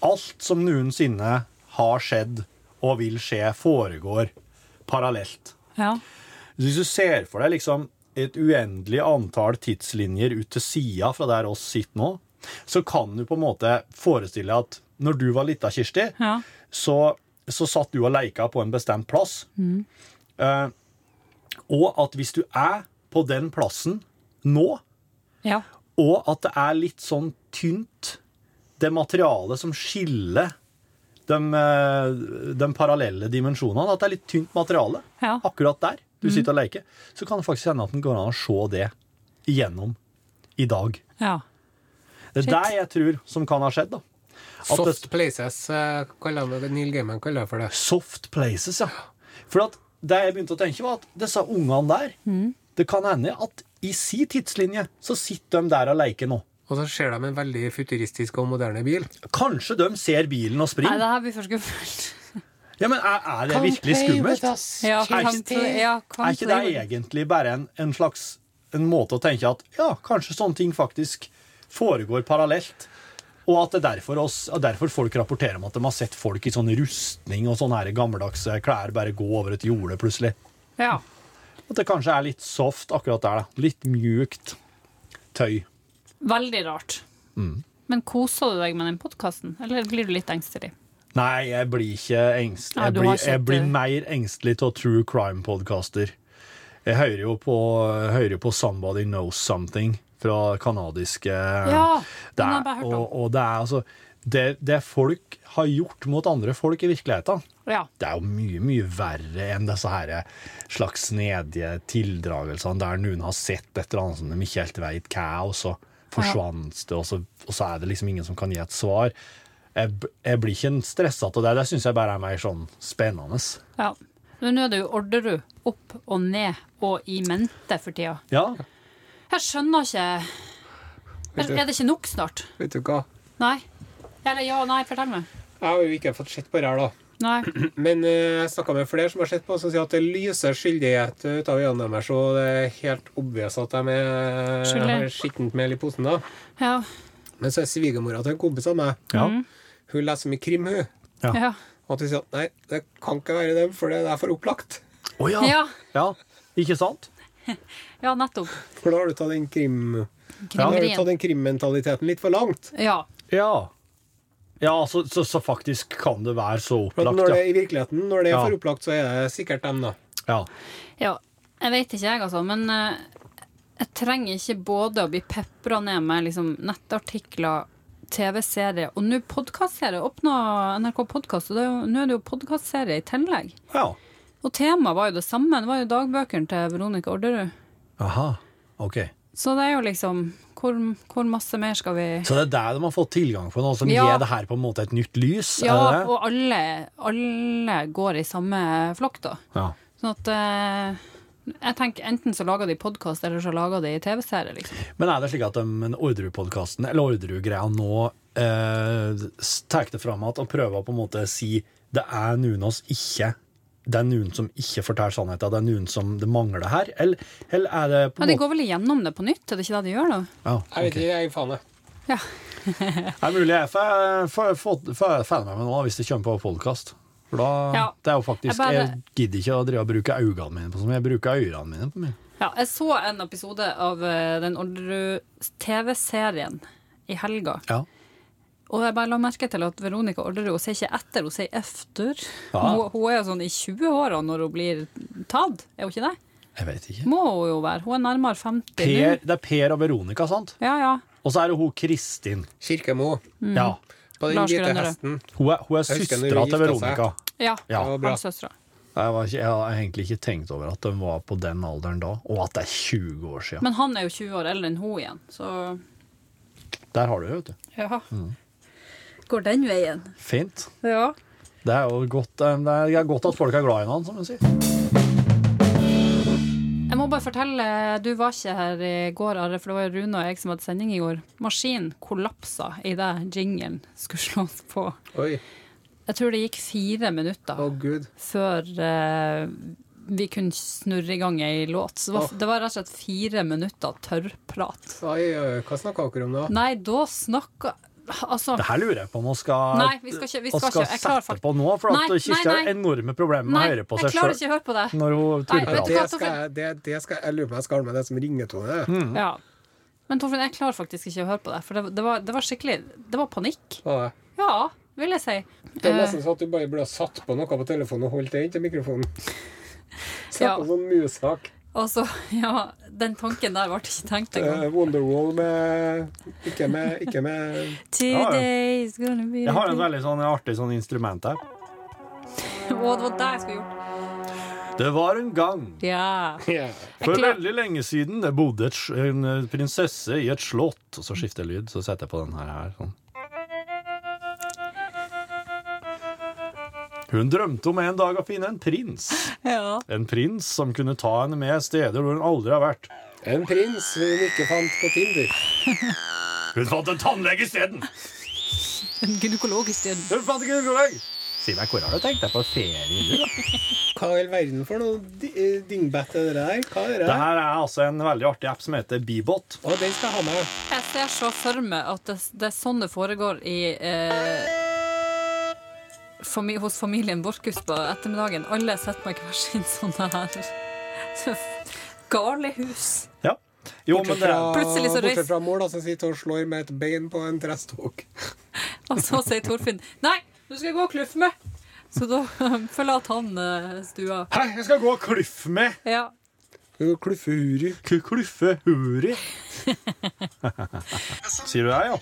Speaker 4: alt som noensinne har skjedd og vil skje, foregår parallelt.
Speaker 2: Ja.
Speaker 4: Hvis du ser for deg liksom et uendelig antall tidslinjer ut til sida fra der oss sitter nå, så kan du på en måte forestille deg at når du var lita, Kirsti,
Speaker 2: Ja.
Speaker 4: så, så satt du og leika på en bestemt plass.
Speaker 2: Mm.
Speaker 4: Eh, og at hvis du er på den plassen nå,
Speaker 2: ja.
Speaker 4: og at det er litt sånn tynt, det materialet som skiller de, eh, de parallelle dimensjonene, at det er litt tynt materiale
Speaker 2: Ja. Mm.
Speaker 4: akkurat der du sitter og leker, så kan det faktisk hende at den går an å se det igjennom i dag.
Speaker 2: Ja.
Speaker 4: Det er
Speaker 2: Shit.
Speaker 4: det jeg tror som kan ha skjedd. da. At det,
Speaker 3: Soft places, eh, kaller det- Neil Gaiman kaller det for det.
Speaker 4: soft places, ja. For at det jeg begynte å tenke, var at disse ungene der Det kan hende at i si tidslinje så sitter de der og leker nå.
Speaker 3: Og så ser de en veldig futuristisk og moderne bil.
Speaker 4: Kanskje de ser bilen og
Speaker 2: Nei,
Speaker 4: springer.
Speaker 2: det her blir for skummelt.
Speaker 4: Ja, men er, er det virkelig skummelt?
Speaker 2: Ja,
Speaker 4: Er
Speaker 2: kan,
Speaker 4: ikke det-
Speaker 2: ja, kan
Speaker 4: Er ikke det egentlig bare en, en slags en måte å tenke at ja, kanskje sånne ting faktisk foregår parallelt? Og at det er derfor, oss, og derfor folk rapporterer om at de har sett folk i sånn rustning og sånne her gammeldagse klær bare gå over et jorde plutselig.
Speaker 2: Ja.
Speaker 4: At det kanskje er litt soft akkurat der. da. Litt mjukt tøy.
Speaker 2: Veldig rart.
Speaker 4: Mm.
Speaker 2: Men koser du deg med den podkasten, eller blir du litt engstelig?
Speaker 4: Nei, jeg blir ikke engstelig.
Speaker 2: Nei,
Speaker 4: Jeg
Speaker 2: du har ikke
Speaker 4: blir, jeg
Speaker 2: sett
Speaker 4: blir
Speaker 2: det.
Speaker 4: mer engstelig av true crime-podkaster. Jeg hører jo på, hører på Somebody Knows Something fra kanadiske
Speaker 2: Ja,
Speaker 4: det
Speaker 2: den har
Speaker 4: er,
Speaker 2: jeg bare hørt om.
Speaker 4: og, og det er altså det, det folk har gjort mot andre folk i virkeligheten,
Speaker 2: Ja.
Speaker 4: det er jo mye, mye verre enn disse her slags snedige tildragelsene der noen har sett et eller annet som de ikke helt vet hva er, og så forsvant det, og så, og så er det liksom ingen som kan gi et svar. Jeg, b- jeg blir ikke stressa av det. Det syns jeg bare er mer sånn spennende.
Speaker 2: ja. Men nå er det jo Orderud opp og ned og i mente for tida.
Speaker 4: Ja,
Speaker 2: Jeg skjønner ikke Er det ikke nok snart?
Speaker 3: Vet du hva?
Speaker 2: Nei? Eller ja og nei, fortell meg.
Speaker 3: Jeg har jo ikke fått sett på det her, da.
Speaker 2: Nei.
Speaker 3: Men eh, jeg snakka med flere som har sett på, som sier at det lyser skyldighet ut av øynene deres, og det er helt obvious at de er eh,
Speaker 2: Skyldig.
Speaker 3: har skittent mel i posen, da.
Speaker 2: Ja.
Speaker 3: Men så er svigermora til en kompis av meg,
Speaker 4: ja.
Speaker 3: hun leser mye krim, hun.
Speaker 2: Ja.
Speaker 3: Og at hun sier at nei, det kan ikke være dem, for det er for opplagt.
Speaker 4: Å ja.
Speaker 2: Ja.
Speaker 4: ja! Ikke sant?
Speaker 2: ja, nettopp.
Speaker 3: For da har du tatt den krim... Da har du tatt
Speaker 2: Krimerien.
Speaker 3: den krimmentaliteten litt for langt.
Speaker 2: Ja.
Speaker 4: Ja. Ja, så, så, så faktisk kan det være så
Speaker 3: For at
Speaker 4: opplagt,
Speaker 3: når det
Speaker 4: ja.
Speaker 3: er i virkeligheten, når det er
Speaker 4: Ja.
Speaker 3: for opplagt, så er det sikkert dem, da.
Speaker 4: ja.
Speaker 2: ja. Jeg vet ikke, jeg, altså. Men eh, jeg trenger ikke både å bli pepra ned med liksom, nettartikler, TV-serier og nå podkastserie. Åpna NRK Podkast, og det er jo- nå er det jo podkastserie i tillegg.
Speaker 4: ja.
Speaker 2: Og temaet var jo det samme. Det var jo dagbøkene til Veronica Orderud.
Speaker 4: Aha. OK.
Speaker 2: Så det er jo liksom Hvor, hvor masse mer skal vi
Speaker 4: Så det er der de har fått tilgang på noe som
Speaker 2: Ja.
Speaker 4: gir det her på en måte et nytt lys?
Speaker 2: Ja,
Speaker 4: er det det?
Speaker 2: og alle, alle går i samme flokk, da.
Speaker 4: ja.
Speaker 2: Sånn at eh, Jeg tenker enten så lager de podkast, eller så lager de TV-serie, liksom.
Speaker 4: Men er det slik at de, Orderud-podkasten, eller Orderud-greia nå, eh, tar det fram igjen og prøver å på en måte si det er noen av oss ikke det er noen som ikke forteller sannheten, det er noen som det mangler her? Eller, eller er det på
Speaker 2: Ja, De
Speaker 4: en måte
Speaker 2: går vel igjennom det på nytt, er det ikke det de gjør, da?
Speaker 4: ja,
Speaker 3: Jeg vet
Speaker 4: ok.
Speaker 3: ikke, jeg gir faen, jeg.
Speaker 2: Ja.
Speaker 4: Det er mulig jeg får- får får- får fan med meg nå, hvis det kommer på podkast. For da
Speaker 2: Ja.
Speaker 4: Det er jo faktisk
Speaker 2: Jeg bare-
Speaker 4: Jeg gidder ikke å drive og bruke øynene mine på sånn, jeg bruker ørene mine på mye.
Speaker 2: ja. Jeg så en episode av eh, den Orderud-TV-serien i helga,
Speaker 4: Ja.
Speaker 2: og jeg bare la merke til at Veronica Orderud hun sier ikke etter, hun sier efter.
Speaker 4: Ja.
Speaker 2: Hun, hun er jo sånn i 20-åra når hun blir tatt, er hun ikke det?
Speaker 4: Jeg vet ikke.
Speaker 2: Må hun jo være. Hun er nærmere 50
Speaker 4: Per,
Speaker 2: nå.
Speaker 4: det er Per og Veronica, sant?
Speaker 2: Ja, ja.
Speaker 4: Og så er det hun Kristin.
Speaker 3: Kirkemo.
Speaker 4: Ja.
Speaker 3: På den
Speaker 2: Lars
Speaker 3: hvite
Speaker 2: Grønnerød.
Speaker 3: hesten.
Speaker 4: Hun er, hun er
Speaker 3: Jeg husker
Speaker 4: søstera
Speaker 3: når de
Speaker 4: til
Speaker 3: gifta
Speaker 4: Veronica.
Speaker 2: ja.
Speaker 4: Ja.
Speaker 3: Det var bra.
Speaker 2: Hans søstra.
Speaker 4: Jeg, var ikke, jeg har egentlig ikke tenkt over at de var på den alderen da, og at det er 20 år siden.
Speaker 2: Men han er jo 20 år eldre enn hun igjen, så
Speaker 4: Der har du det, vet du.
Speaker 2: ja. Går den veien.
Speaker 4: Fint.
Speaker 2: Ja.
Speaker 4: Det er jo godt, eh, det er godt at folk er glad i hverandre, som hun sier.
Speaker 2: Jeg må bare fortelle, du var ikke her i går, Are, for det var jo Rune og jeg som hadde sending i går. Maskinen kollapsa idet jinglen skulle slås på.
Speaker 3: Oi.
Speaker 2: Jeg tror det gikk fire minutter
Speaker 3: Å, gud.
Speaker 2: før eh, vi kunne snurre i gang ei låt. Så det var, det var rett og slett fire minutter tørrprat.
Speaker 3: Oi, oi, hva snakka dere om da?
Speaker 2: Nei, da snakka Altså
Speaker 4: Det her lurer jeg på om hun skal,
Speaker 2: Nei, vi skal ikke- vi
Speaker 4: hun
Speaker 2: skal ikke. Jeg klarer
Speaker 4: sette
Speaker 2: fakt-
Speaker 4: på nå, for
Speaker 2: Nei,
Speaker 4: at Kirsti
Speaker 2: nei,
Speaker 4: har
Speaker 2: nei.
Speaker 4: enorme problemer med
Speaker 2: Nei,
Speaker 4: å høre på
Speaker 2: jeg
Speaker 4: seg
Speaker 2: klarer ikke
Speaker 4: sjøl
Speaker 2: å høre på det.
Speaker 4: når hun turper
Speaker 2: vet
Speaker 4: av.
Speaker 2: du hva,
Speaker 3: Det skal jeg, det, det skal, jeg lurer på om jeg skal ha med det som ringetone.
Speaker 4: Mm. Mhm.
Speaker 2: Ja. Men Torfinn, jeg klarer faktisk ikke å høre på det, for det, det, var, det var skikkelig Det var panikk.
Speaker 3: Ja, det.
Speaker 2: Ja, vil jeg si.
Speaker 3: Det
Speaker 2: Eh.
Speaker 3: er nesten sånn at du bare burde ha satt på noe på telefonen og holdt det inntil
Speaker 2: *laughs*
Speaker 3: mikrofonen. Satt
Speaker 2: Ja.
Speaker 3: på sånn musak.
Speaker 2: Og så, *laughs* ja, den tanken der ble ikke tenkt engang.
Speaker 3: Eh, Wonderwall med Ikke med, ikke med
Speaker 2: *laughs* Today is gonna be
Speaker 4: Jeg har
Speaker 2: the
Speaker 4: en
Speaker 2: day.
Speaker 4: veldig sånn artig sånn instrument her.
Speaker 2: Å, det var det jeg skulle gjort.
Speaker 4: Det Det var en gang,
Speaker 2: Ja.
Speaker 3: Ja.
Speaker 4: for
Speaker 2: klar-
Speaker 4: veldig lenge siden, det bodde et, sj- en eh, prinsesse i et slott. Og så skifter jeg lyd, så setter jeg på den her. her sånn. Hun drømte om en dag å finne en prins.
Speaker 2: ja.
Speaker 4: En prins som kunne ta henne med steder hvor hun aldri har vært.
Speaker 3: En prins hun ikke fant på Tinder.
Speaker 4: Hun fant en tannlege isteden!
Speaker 2: En gynekologisk en.
Speaker 4: Hun fant ikke en gynekolog! Si meg, hvor har du tenkt deg på ferie? du, da?
Speaker 3: Hva i all verden for noe di- eh, dingbat er det der? Hva er det?
Speaker 4: Det her er altså en veldig artig app som heter Bebot.
Speaker 3: Å, den skal jeg ha med.
Speaker 2: Jeg ser så for meg at det, det er sånn det foregår i eh, fami hos familien Borchhus på ettermiddagen. Alle sitter med hver sin sånne her *laughs* galehus.
Speaker 4: Ja. Jo, men
Speaker 3: Bortsett
Speaker 4: det
Speaker 3: fra,
Speaker 4: er
Speaker 2: Plutselig så
Speaker 3: bortsett
Speaker 2: reis-
Speaker 3: fra mor, da, som sitter og slår med et bein på en treståk.
Speaker 2: Og så sier Torfinn Nei, du skal gå og kluffe meg! Så da *laughs* forlater han eh, stua.
Speaker 4: Hæ, jeg skal gå og kluffe med
Speaker 2: Ja.
Speaker 3: Hun kluffer huri.
Speaker 4: K Kluffe huri. Sier du det, ja?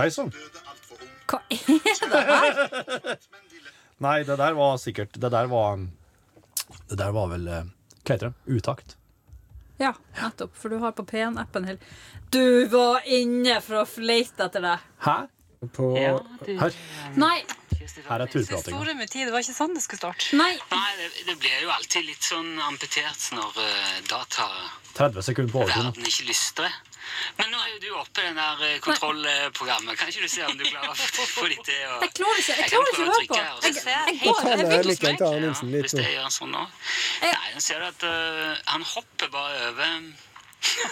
Speaker 4: Hei sann.
Speaker 2: Hva er
Speaker 4: Nei, det der var sikkert Det der var Det der var vel eh, Hva heter det? Utakt.
Speaker 2: Ja, nettopp. For du har på P1-appen hele Du var inne for å fleite etter deg!
Speaker 4: Hæ?
Speaker 3: På
Speaker 4: Her,
Speaker 2: Nei!
Speaker 4: her er turpratinga.
Speaker 5: Store med tid, det var ikke sånn det skulle starte.
Speaker 2: Nei!
Speaker 6: Nei, det, det blir jo alltid litt sånn amputert når eh, dataverden
Speaker 4: 30 sekunder på overtid.
Speaker 6: ikke lystrer. Men nå er jo du oppe i den der eh, kontrollprogrammet. Kan ikke du se om du klarer å få- få litt til å
Speaker 2: Jeg klarer ikke, jeg
Speaker 6: kan
Speaker 2: klarer ikke å
Speaker 6: prøve
Speaker 2: høre på!
Speaker 6: trykke her, og
Speaker 2: Jeg,
Speaker 6: så-
Speaker 2: jeg går. Jeg
Speaker 3: Nei,
Speaker 2: vil
Speaker 3: like en til Aron
Speaker 6: Ja,
Speaker 3: Nilsen litt
Speaker 6: hvis
Speaker 3: nå.
Speaker 6: det gjør han sånn nå.
Speaker 2: Jeg-
Speaker 6: Nei, nå ser du at eh, han hopper bare over.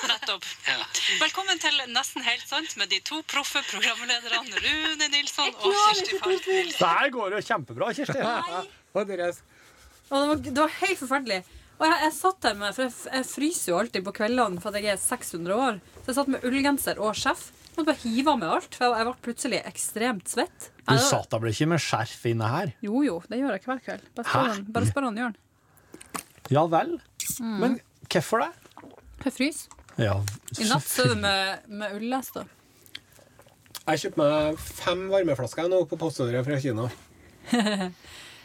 Speaker 5: Nettopp.
Speaker 6: Ja.
Speaker 5: Velkommen til Nesten helt sant med de to proffe programlederne Rune Nilsson og
Speaker 2: klarer
Speaker 5: Kirsti Falk Nilsen.
Speaker 4: Det her går jo kjempebra, Kirsti.
Speaker 3: Å, deres.
Speaker 2: Og det var, det var helt forferdelig. Og jeg, jeg satt der med, for jeg, f- jeg fryser jo alltid på kveldene for at jeg er 600 år. Så jeg satt med ullgenser og sjef. Måtte bare hive av meg alt, for jeg, jeg ble plutselig ekstremt svett.
Speaker 4: Du
Speaker 2: Jeg-
Speaker 4: satt da vel ikke med skjerf inne her?
Speaker 2: Jo jo, det gjør jeg hver kveld. Bare spør
Speaker 4: Hæ?
Speaker 2: han, bare spør han Jørn.
Speaker 4: Ja vel? Men hvorfor det?
Speaker 2: Jeg fryser.
Speaker 4: Ja,
Speaker 2: Mm. I natt sover jeg med, med ullest. da.
Speaker 3: Jeg kjøpte meg fem varmeflasker nå på postordre fra Kina.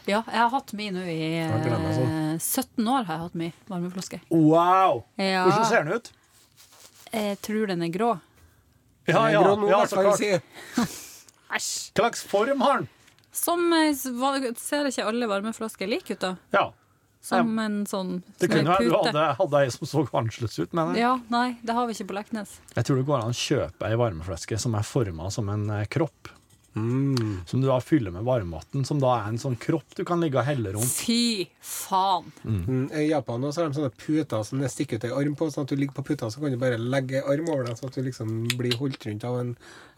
Speaker 2: Ja, jeg har hatt mi nå i
Speaker 3: har glemt meg sånn.
Speaker 2: eh, 17 år. har jeg hatt mi varmeflaske.
Speaker 4: Wow!
Speaker 2: Ja.
Speaker 4: Hvordan ser den ut?
Speaker 2: Jeg tror den er grå.
Speaker 4: Ja, ja,
Speaker 3: Grønn nå,
Speaker 4: ja,
Speaker 3: hvert
Speaker 4: så
Speaker 3: fall,
Speaker 4: klart.
Speaker 3: sier jeg.
Speaker 2: Æsj!
Speaker 4: Hva slags form har den?
Speaker 2: Som eh, s- va- ser ikke alle varmeflasker like ut, da.
Speaker 4: Ja.
Speaker 2: Som en sånn
Speaker 4: Det kunne være du
Speaker 2: pute.
Speaker 4: hadde, hadde ei som så annerledes ut, mener jeg.
Speaker 2: Ja, nei, det har vi ikke på Leknes.
Speaker 4: Jeg tror det går an å kjøpe ei varmeflaske som er forma som en eh, kropp. Som du da fyller med varmvann, som da er en sånn kropp du kan ligge og helle rundt.
Speaker 2: Fy faen!
Speaker 3: Mm, I Japan nå så har de sånne puter som det stikker ut en arm på, sånn at du ligger på puta, så kan du bare legge en arm over deg, sånn at du liksom blir holdt rundt av en,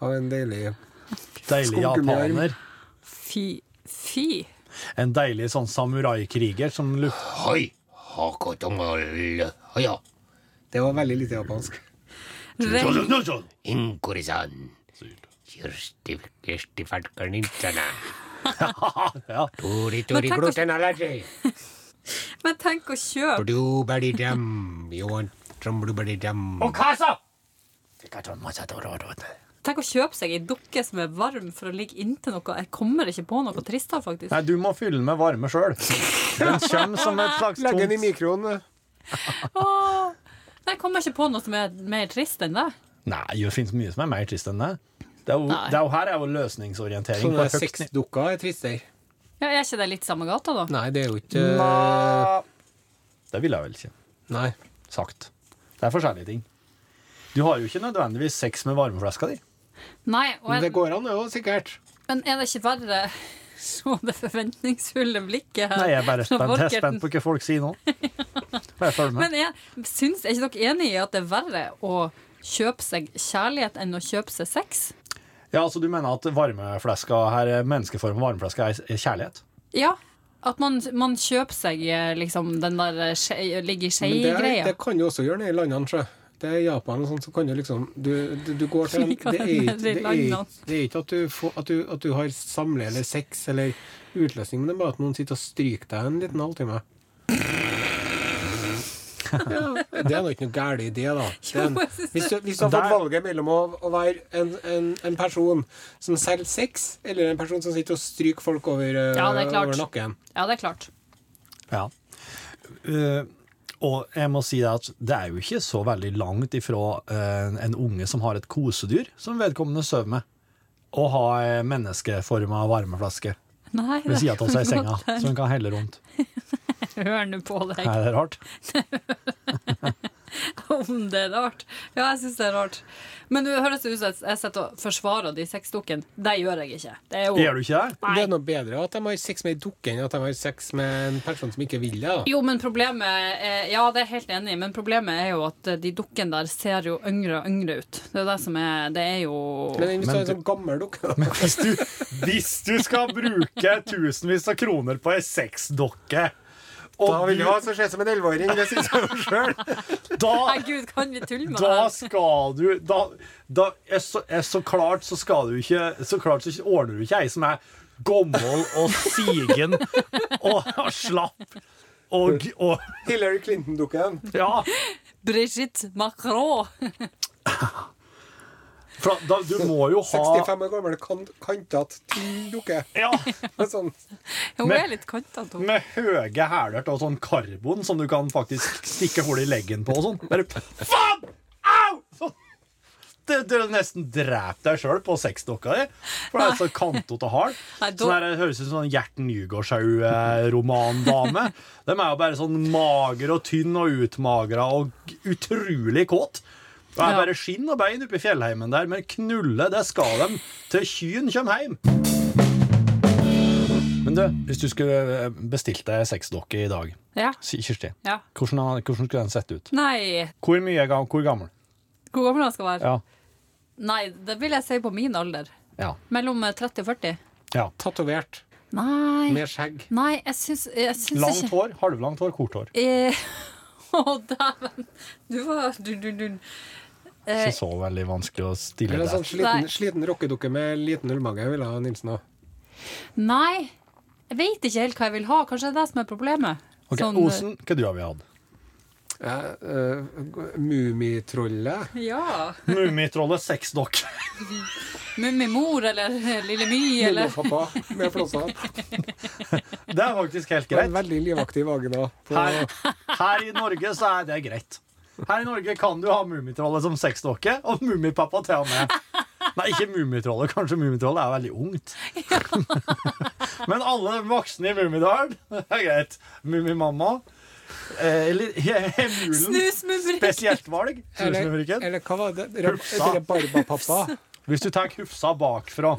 Speaker 3: av en deilig
Speaker 4: Deilig
Speaker 3: Skumgummiarm.
Speaker 4: japaner.
Speaker 2: Fy. Fy.
Speaker 4: En deilig sånn samuraikriger som luft...
Speaker 3: Det var veldig lite japansk.
Speaker 2: Ren,
Speaker 4: Ja.
Speaker 2: men, tenk å, men tenk å kjøpe
Speaker 3: Blueberry jam. You want some blueberry jam?
Speaker 2: Tenk å kjøpe seg ei dukke som er varm for å ligge inntil noe. Jeg kommer ikke på noe tristere, faktisk.
Speaker 4: Nei, du må fylle den med varme sjøl. Den kommer som et
Speaker 3: *laughs*
Speaker 4: slags
Speaker 3: Legg den i
Speaker 4: tomt
Speaker 3: mikroen.
Speaker 2: Åh, jeg kommer ikke på noe som er mer trist enn det.
Speaker 4: Nei, det fins mye som er mer trist enn det. Det er jo,
Speaker 2: Nei.
Speaker 4: det er jo her er jo løsningsorientering. på
Speaker 3: Sånne
Speaker 4: et høyt nivå.
Speaker 3: sexdukker er tristere.
Speaker 2: Ja, Er ikke det litt samme gata, da?
Speaker 3: Nei, det er jo ikke
Speaker 4: Det ville jeg vel ikke.
Speaker 3: Nei.
Speaker 4: sagt. Det er forskjellige ting. Du har jo ikke nødvendigvis sex med varmeflaska di.
Speaker 2: Nei, og
Speaker 3: Men det
Speaker 2: jeg,
Speaker 3: går an, det òg, sikkert.
Speaker 2: men er det ikke verre Se det forventningsfulle blikket her
Speaker 4: Nei, jeg er *laughs* bare
Speaker 2: fra
Speaker 4: spent, jeg er
Speaker 2: Borkerten.
Speaker 4: spent på hva folk sier nå. *laughs* Bare følg med.
Speaker 2: Men jeg, syns, er ikke dere enig i at det er verre å kjøpe seg kjærlighet enn å kjøpe seg sex?
Speaker 4: Ja, altså Du mener at varmeflaska her, menneskeformen varmeflaska er er kjærlighet?
Speaker 2: Ja. At man, man kjøper seg eh, liksom den der eh, skje- ligge i
Speaker 3: Men det, er,
Speaker 2: skje-greia.
Speaker 3: det kan du også gjøre nede i landene, sjø. Det er Japan og sånn, så kan du liksom Du, du, du går
Speaker 2: *laughs*
Speaker 3: til en,
Speaker 2: Liker
Speaker 3: det,
Speaker 2: den nede
Speaker 3: er, ikke-
Speaker 2: i
Speaker 3: det, er,
Speaker 2: landene.
Speaker 3: ikke- det er ikke at du, får, at, du, at du har samleie eller sex eller utløsning, men det er bare at noen sitter og stryker deg en liten halvtime. Ja, *laughs* det er nå ikke noe gæren idé, da. Det er en,
Speaker 2: Jo, jeg synes det.
Speaker 3: hvis, du, hvis du har fått
Speaker 4: Der-
Speaker 3: valget mellom å, å være en, en, en person som selger sex, eller en person som sitter og stryker folk over, eh,
Speaker 2: Ja, det er klart.
Speaker 3: over nakken
Speaker 2: Ja, det er klart.
Speaker 4: Ja. Eh, og jeg må si det at det er jo ikke så veldig langt ifra eh, en unge som har et kosedyr som vedkommende sover med, å ha ei menneskeforma varmeflaske
Speaker 2: Nei,
Speaker 4: ved sida av seg i
Speaker 2: *laughs*
Speaker 4: senga, *laughs* som en kan helle rundt.
Speaker 2: Hør nå på deg
Speaker 4: Er det rart?
Speaker 2: *laughs* om det er rart. Ja, jeg syns det er rart. Men nå høres det ut som at jeg sitter og forsvarer de sexdukkene. Det gjør jeg ikke. Det er jo
Speaker 4: Gjør du ikke det?
Speaker 3: Det er noe bedre at de har sex med ei dukke enn at de har sex med en person som ikke vil det. da.
Speaker 2: Jo, men problemet er, Ja, det er jeg helt enig i, men problemet er jo at eh, de dukkene der ser jo yngre og yngre ut. Det er det som er Det er jo
Speaker 3: Men hvis du
Speaker 4: Men
Speaker 3: har en sånn gammel dukke da.
Speaker 4: Hvis du, hvis du skal bruke tusenvis av kroner på ei sexdokke, og
Speaker 3: Da vil jeg ha så ser ut som en elleveåring. Det syns jeg jo sjøl.
Speaker 4: du, da
Speaker 2: Nei, gud, kan vi tulle med det?
Speaker 4: Da
Speaker 2: her?
Speaker 4: skal du da, da, er så, er så klart så skal du ikke Så klart så ordner du ikke ei som er gammel og sigen og, og slapp og, og
Speaker 3: Hillary Clinton-dukken.
Speaker 4: Ja.
Speaker 2: Brigitte Macron.
Speaker 4: For da, du må jo ha
Speaker 3: 65 år gammel kan, kantete, tynn dukke.
Speaker 4: ja,
Speaker 3: Med sånn
Speaker 2: Hun
Speaker 4: Men-
Speaker 2: er litt kantete, hun.
Speaker 4: med høye hæler av sånn karbon som du kan faktisk stikke hull i leggen på og sånn. Bare faen! Au! Sånn. Du, du nesten dreper deg sjøl på sexdokka di. For det er så kantete og hard.
Speaker 2: *laughs* Nei, da-
Speaker 4: Sånn her, det høres ut som en Gjert Nygårdshaug-romandame. *laughs* De er jo bare sånn mager og tynn og utmagra og utrolig kåt. Det er
Speaker 2: Ja.
Speaker 4: bare skinn og bein oppe i fjellheimen der, men knulle, det skal de til kyen kommer hjem. Men du, hvis du skulle eh, bestilt deg sexdokke i dag,
Speaker 2: Ja.
Speaker 4: si- Kirsti,
Speaker 2: ja.
Speaker 4: hvordan, hvordan skulle den sett ut?
Speaker 2: Nei,
Speaker 4: Hvor mye er gam- hvor gammel?
Speaker 2: hvor gammel hun skal være?
Speaker 4: Ja.
Speaker 2: Nei, det vil jeg si på min alder.
Speaker 4: Ja.
Speaker 2: Mellom 30 og 40.
Speaker 4: ja.
Speaker 3: tatovert
Speaker 2: Nei,
Speaker 3: med skjegg.
Speaker 2: Nei jeg syns, jeg syns
Speaker 4: Langt
Speaker 2: ikke
Speaker 4: hår, halvlangt hår, kort hår.
Speaker 2: Eh, *laughs* Å, dæven. Du var du, du, du. Eh,
Speaker 4: Ikke så veldig vanskelig å stille
Speaker 3: Eller en
Speaker 4: det.
Speaker 3: sånn sliten,
Speaker 2: Nei.
Speaker 3: sliten rockedukke med liten ullmage ville ha Nilsen òg.
Speaker 2: Nei, jeg vet ikke helt hva jeg vil ha. Kanskje det er det som er problemet.
Speaker 4: Ok,
Speaker 2: Sånn-
Speaker 4: Osen, hva du har vi hatt?
Speaker 3: Ja, eh, Mummitrollet.
Speaker 2: Ja.
Speaker 4: Mummitrollet sexdokke.
Speaker 2: Mummimor eller Lille My eller
Speaker 3: Mummipappa med flosser.
Speaker 4: *laughs* Det er faktisk helt
Speaker 3: Og En
Speaker 4: greit.
Speaker 3: veldig livaktig vagina.
Speaker 4: Her, her i Norge så er det greit. Her i Norge kan du ha Mummitrollet som sexdokke, og Mummipappa til og med. Nei, ikke Mummitrollet. Kanskje Mummitrollet er veldig
Speaker 2: *laughs*
Speaker 4: ungt. Men alle voksne i Mummidalen, det er greit. Mummimamma. eh, Eller Emulen.
Speaker 2: Snusmumrik.
Speaker 4: Spesielt valg.
Speaker 3: Eller,
Speaker 4: Snusmumrikken.
Speaker 3: eller hva var det?
Speaker 4: Hufsa.
Speaker 3: Rab- Barbapappa.
Speaker 4: Hvis du tar Hufsa bakfra,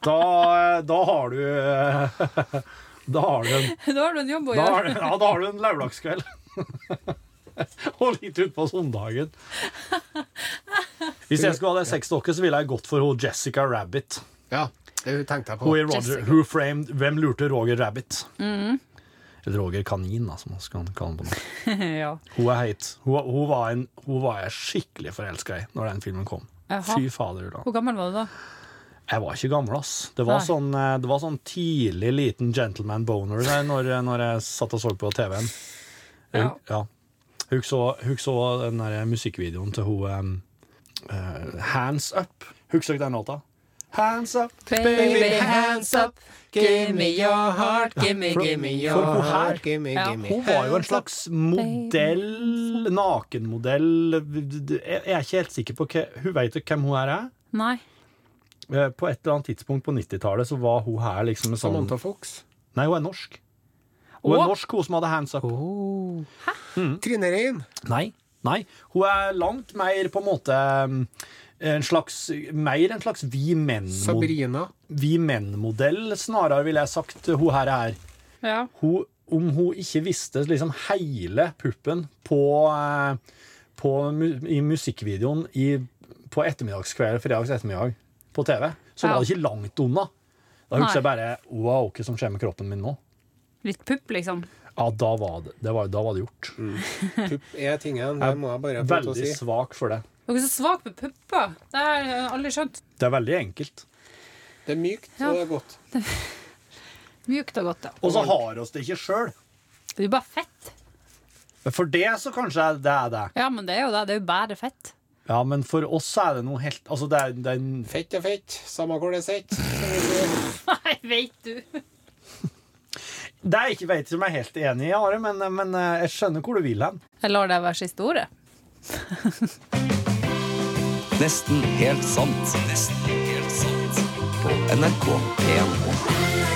Speaker 4: da, da har du eh, Da har du en
Speaker 2: Da har du en jobb å
Speaker 4: Da har,
Speaker 2: gjøre.
Speaker 4: du- ja, da har du en lørdagskveld. og litt utpå søndagen. Hvis jeg skulle hatt ei sexdokke, så ville jeg gått for hun Jessica Rabbit.
Speaker 3: Ja, det tenkte jeg
Speaker 4: Hun
Speaker 3: på.
Speaker 4: i Roger,
Speaker 2: Jessica. Mm.
Speaker 4: who framed, hvem lurte Roger Rabbit? Eller Roger Kanin, da, som man skal kalle ham på nå.
Speaker 2: *laughs* Ja.
Speaker 4: Hun er heit. Hun, hun, var en, hun var jeg skikkelig forelska i når den filmen kom.
Speaker 2: Jaha.
Speaker 4: Fy fader, da.
Speaker 2: Hvor gammel var du da?
Speaker 4: Jeg var ikke gammel, ass. Det var,
Speaker 2: Nei.
Speaker 4: sånn, eh, det var sånn tidlig liten gentleman boner der når, eh, når jeg satt og så på TV-en. Ja.
Speaker 2: Ja.
Speaker 4: Hun, så, hun så den der musikkvideoen til hun eh, eh, Hands Up. Husker dere den låta? Hands up, baby, hands up.
Speaker 3: Give me your heart, give me,
Speaker 4: For-
Speaker 3: give me
Speaker 4: for
Speaker 3: your
Speaker 4: hun her-
Speaker 3: heart, give me,
Speaker 2: Ja,
Speaker 3: give me
Speaker 4: Hun var jo en
Speaker 3: hands up.
Speaker 4: slags modell, nakenmodell Jeg er ikke helt sikker på hva Hun vet jo hvem hun her er.
Speaker 2: Nei.
Speaker 4: Eh, På et eller annet tidspunkt på 90-tallet så var hun her liksom en sånn
Speaker 3: Samantha Fox.
Speaker 4: Nei, hun er norsk. Hun er
Speaker 2: Å?
Speaker 4: norsk, hun som hadde hands up. Mm.
Speaker 3: Trine Rein.
Speaker 4: Nei. Nei. Hun er langt mer på en måte mm, en slags, mer en slags vi menn-modell, *laughs*
Speaker 3: Sabrina.
Speaker 4: snarere, ville jeg sagt, hun her er.
Speaker 2: Ja.
Speaker 4: Hun, om hun ikke visste liksom hele puppen på, eh, på, mu- i musikkvideoen i, på ettermiddagskveld, fredags ettermiddag, på TV, så
Speaker 2: Ja.
Speaker 4: var det ikke langt unna. Da husker
Speaker 2: Nei.
Speaker 4: jeg bare Wow, hva som skjer med kroppen min nå?
Speaker 2: Litt pupp, liksom.
Speaker 4: Ja, da var det, det, var, da var det gjort.
Speaker 3: Pupp er tingen. Det må Mm. jeg bare få lov til å
Speaker 4: Veldig
Speaker 3: si.
Speaker 4: svak for det.
Speaker 2: Dere er så svake med pupper. Det har jeg aldri skjønt.
Speaker 4: Det er veldig enkelt.
Speaker 3: Det er mykt,
Speaker 2: Ja.
Speaker 3: og det er godt.
Speaker 2: Mjukt og godt, ja.
Speaker 4: Og så har oss det ikke sjøl.
Speaker 2: Det er jo bare fett.
Speaker 4: For det så kanskje er- det er det.
Speaker 2: Ja, men det er jo det. Det er jo bare fett. *laughs*
Speaker 4: Ja, men for oss er det noe helt Altså, det er, det er en
Speaker 3: Fett er
Speaker 4: *laughs*
Speaker 3: fett, samme hvor det sitter.
Speaker 2: Nei, veit du.
Speaker 4: Det er ikke, vet ikke om jeg er helt enig i, Are, men, men eh, jeg skjønner hvor du vil hen.
Speaker 2: Jeg lar det være siste ordet.
Speaker 1: Nesten helt sant. Nesten helt sant. På NRK P1.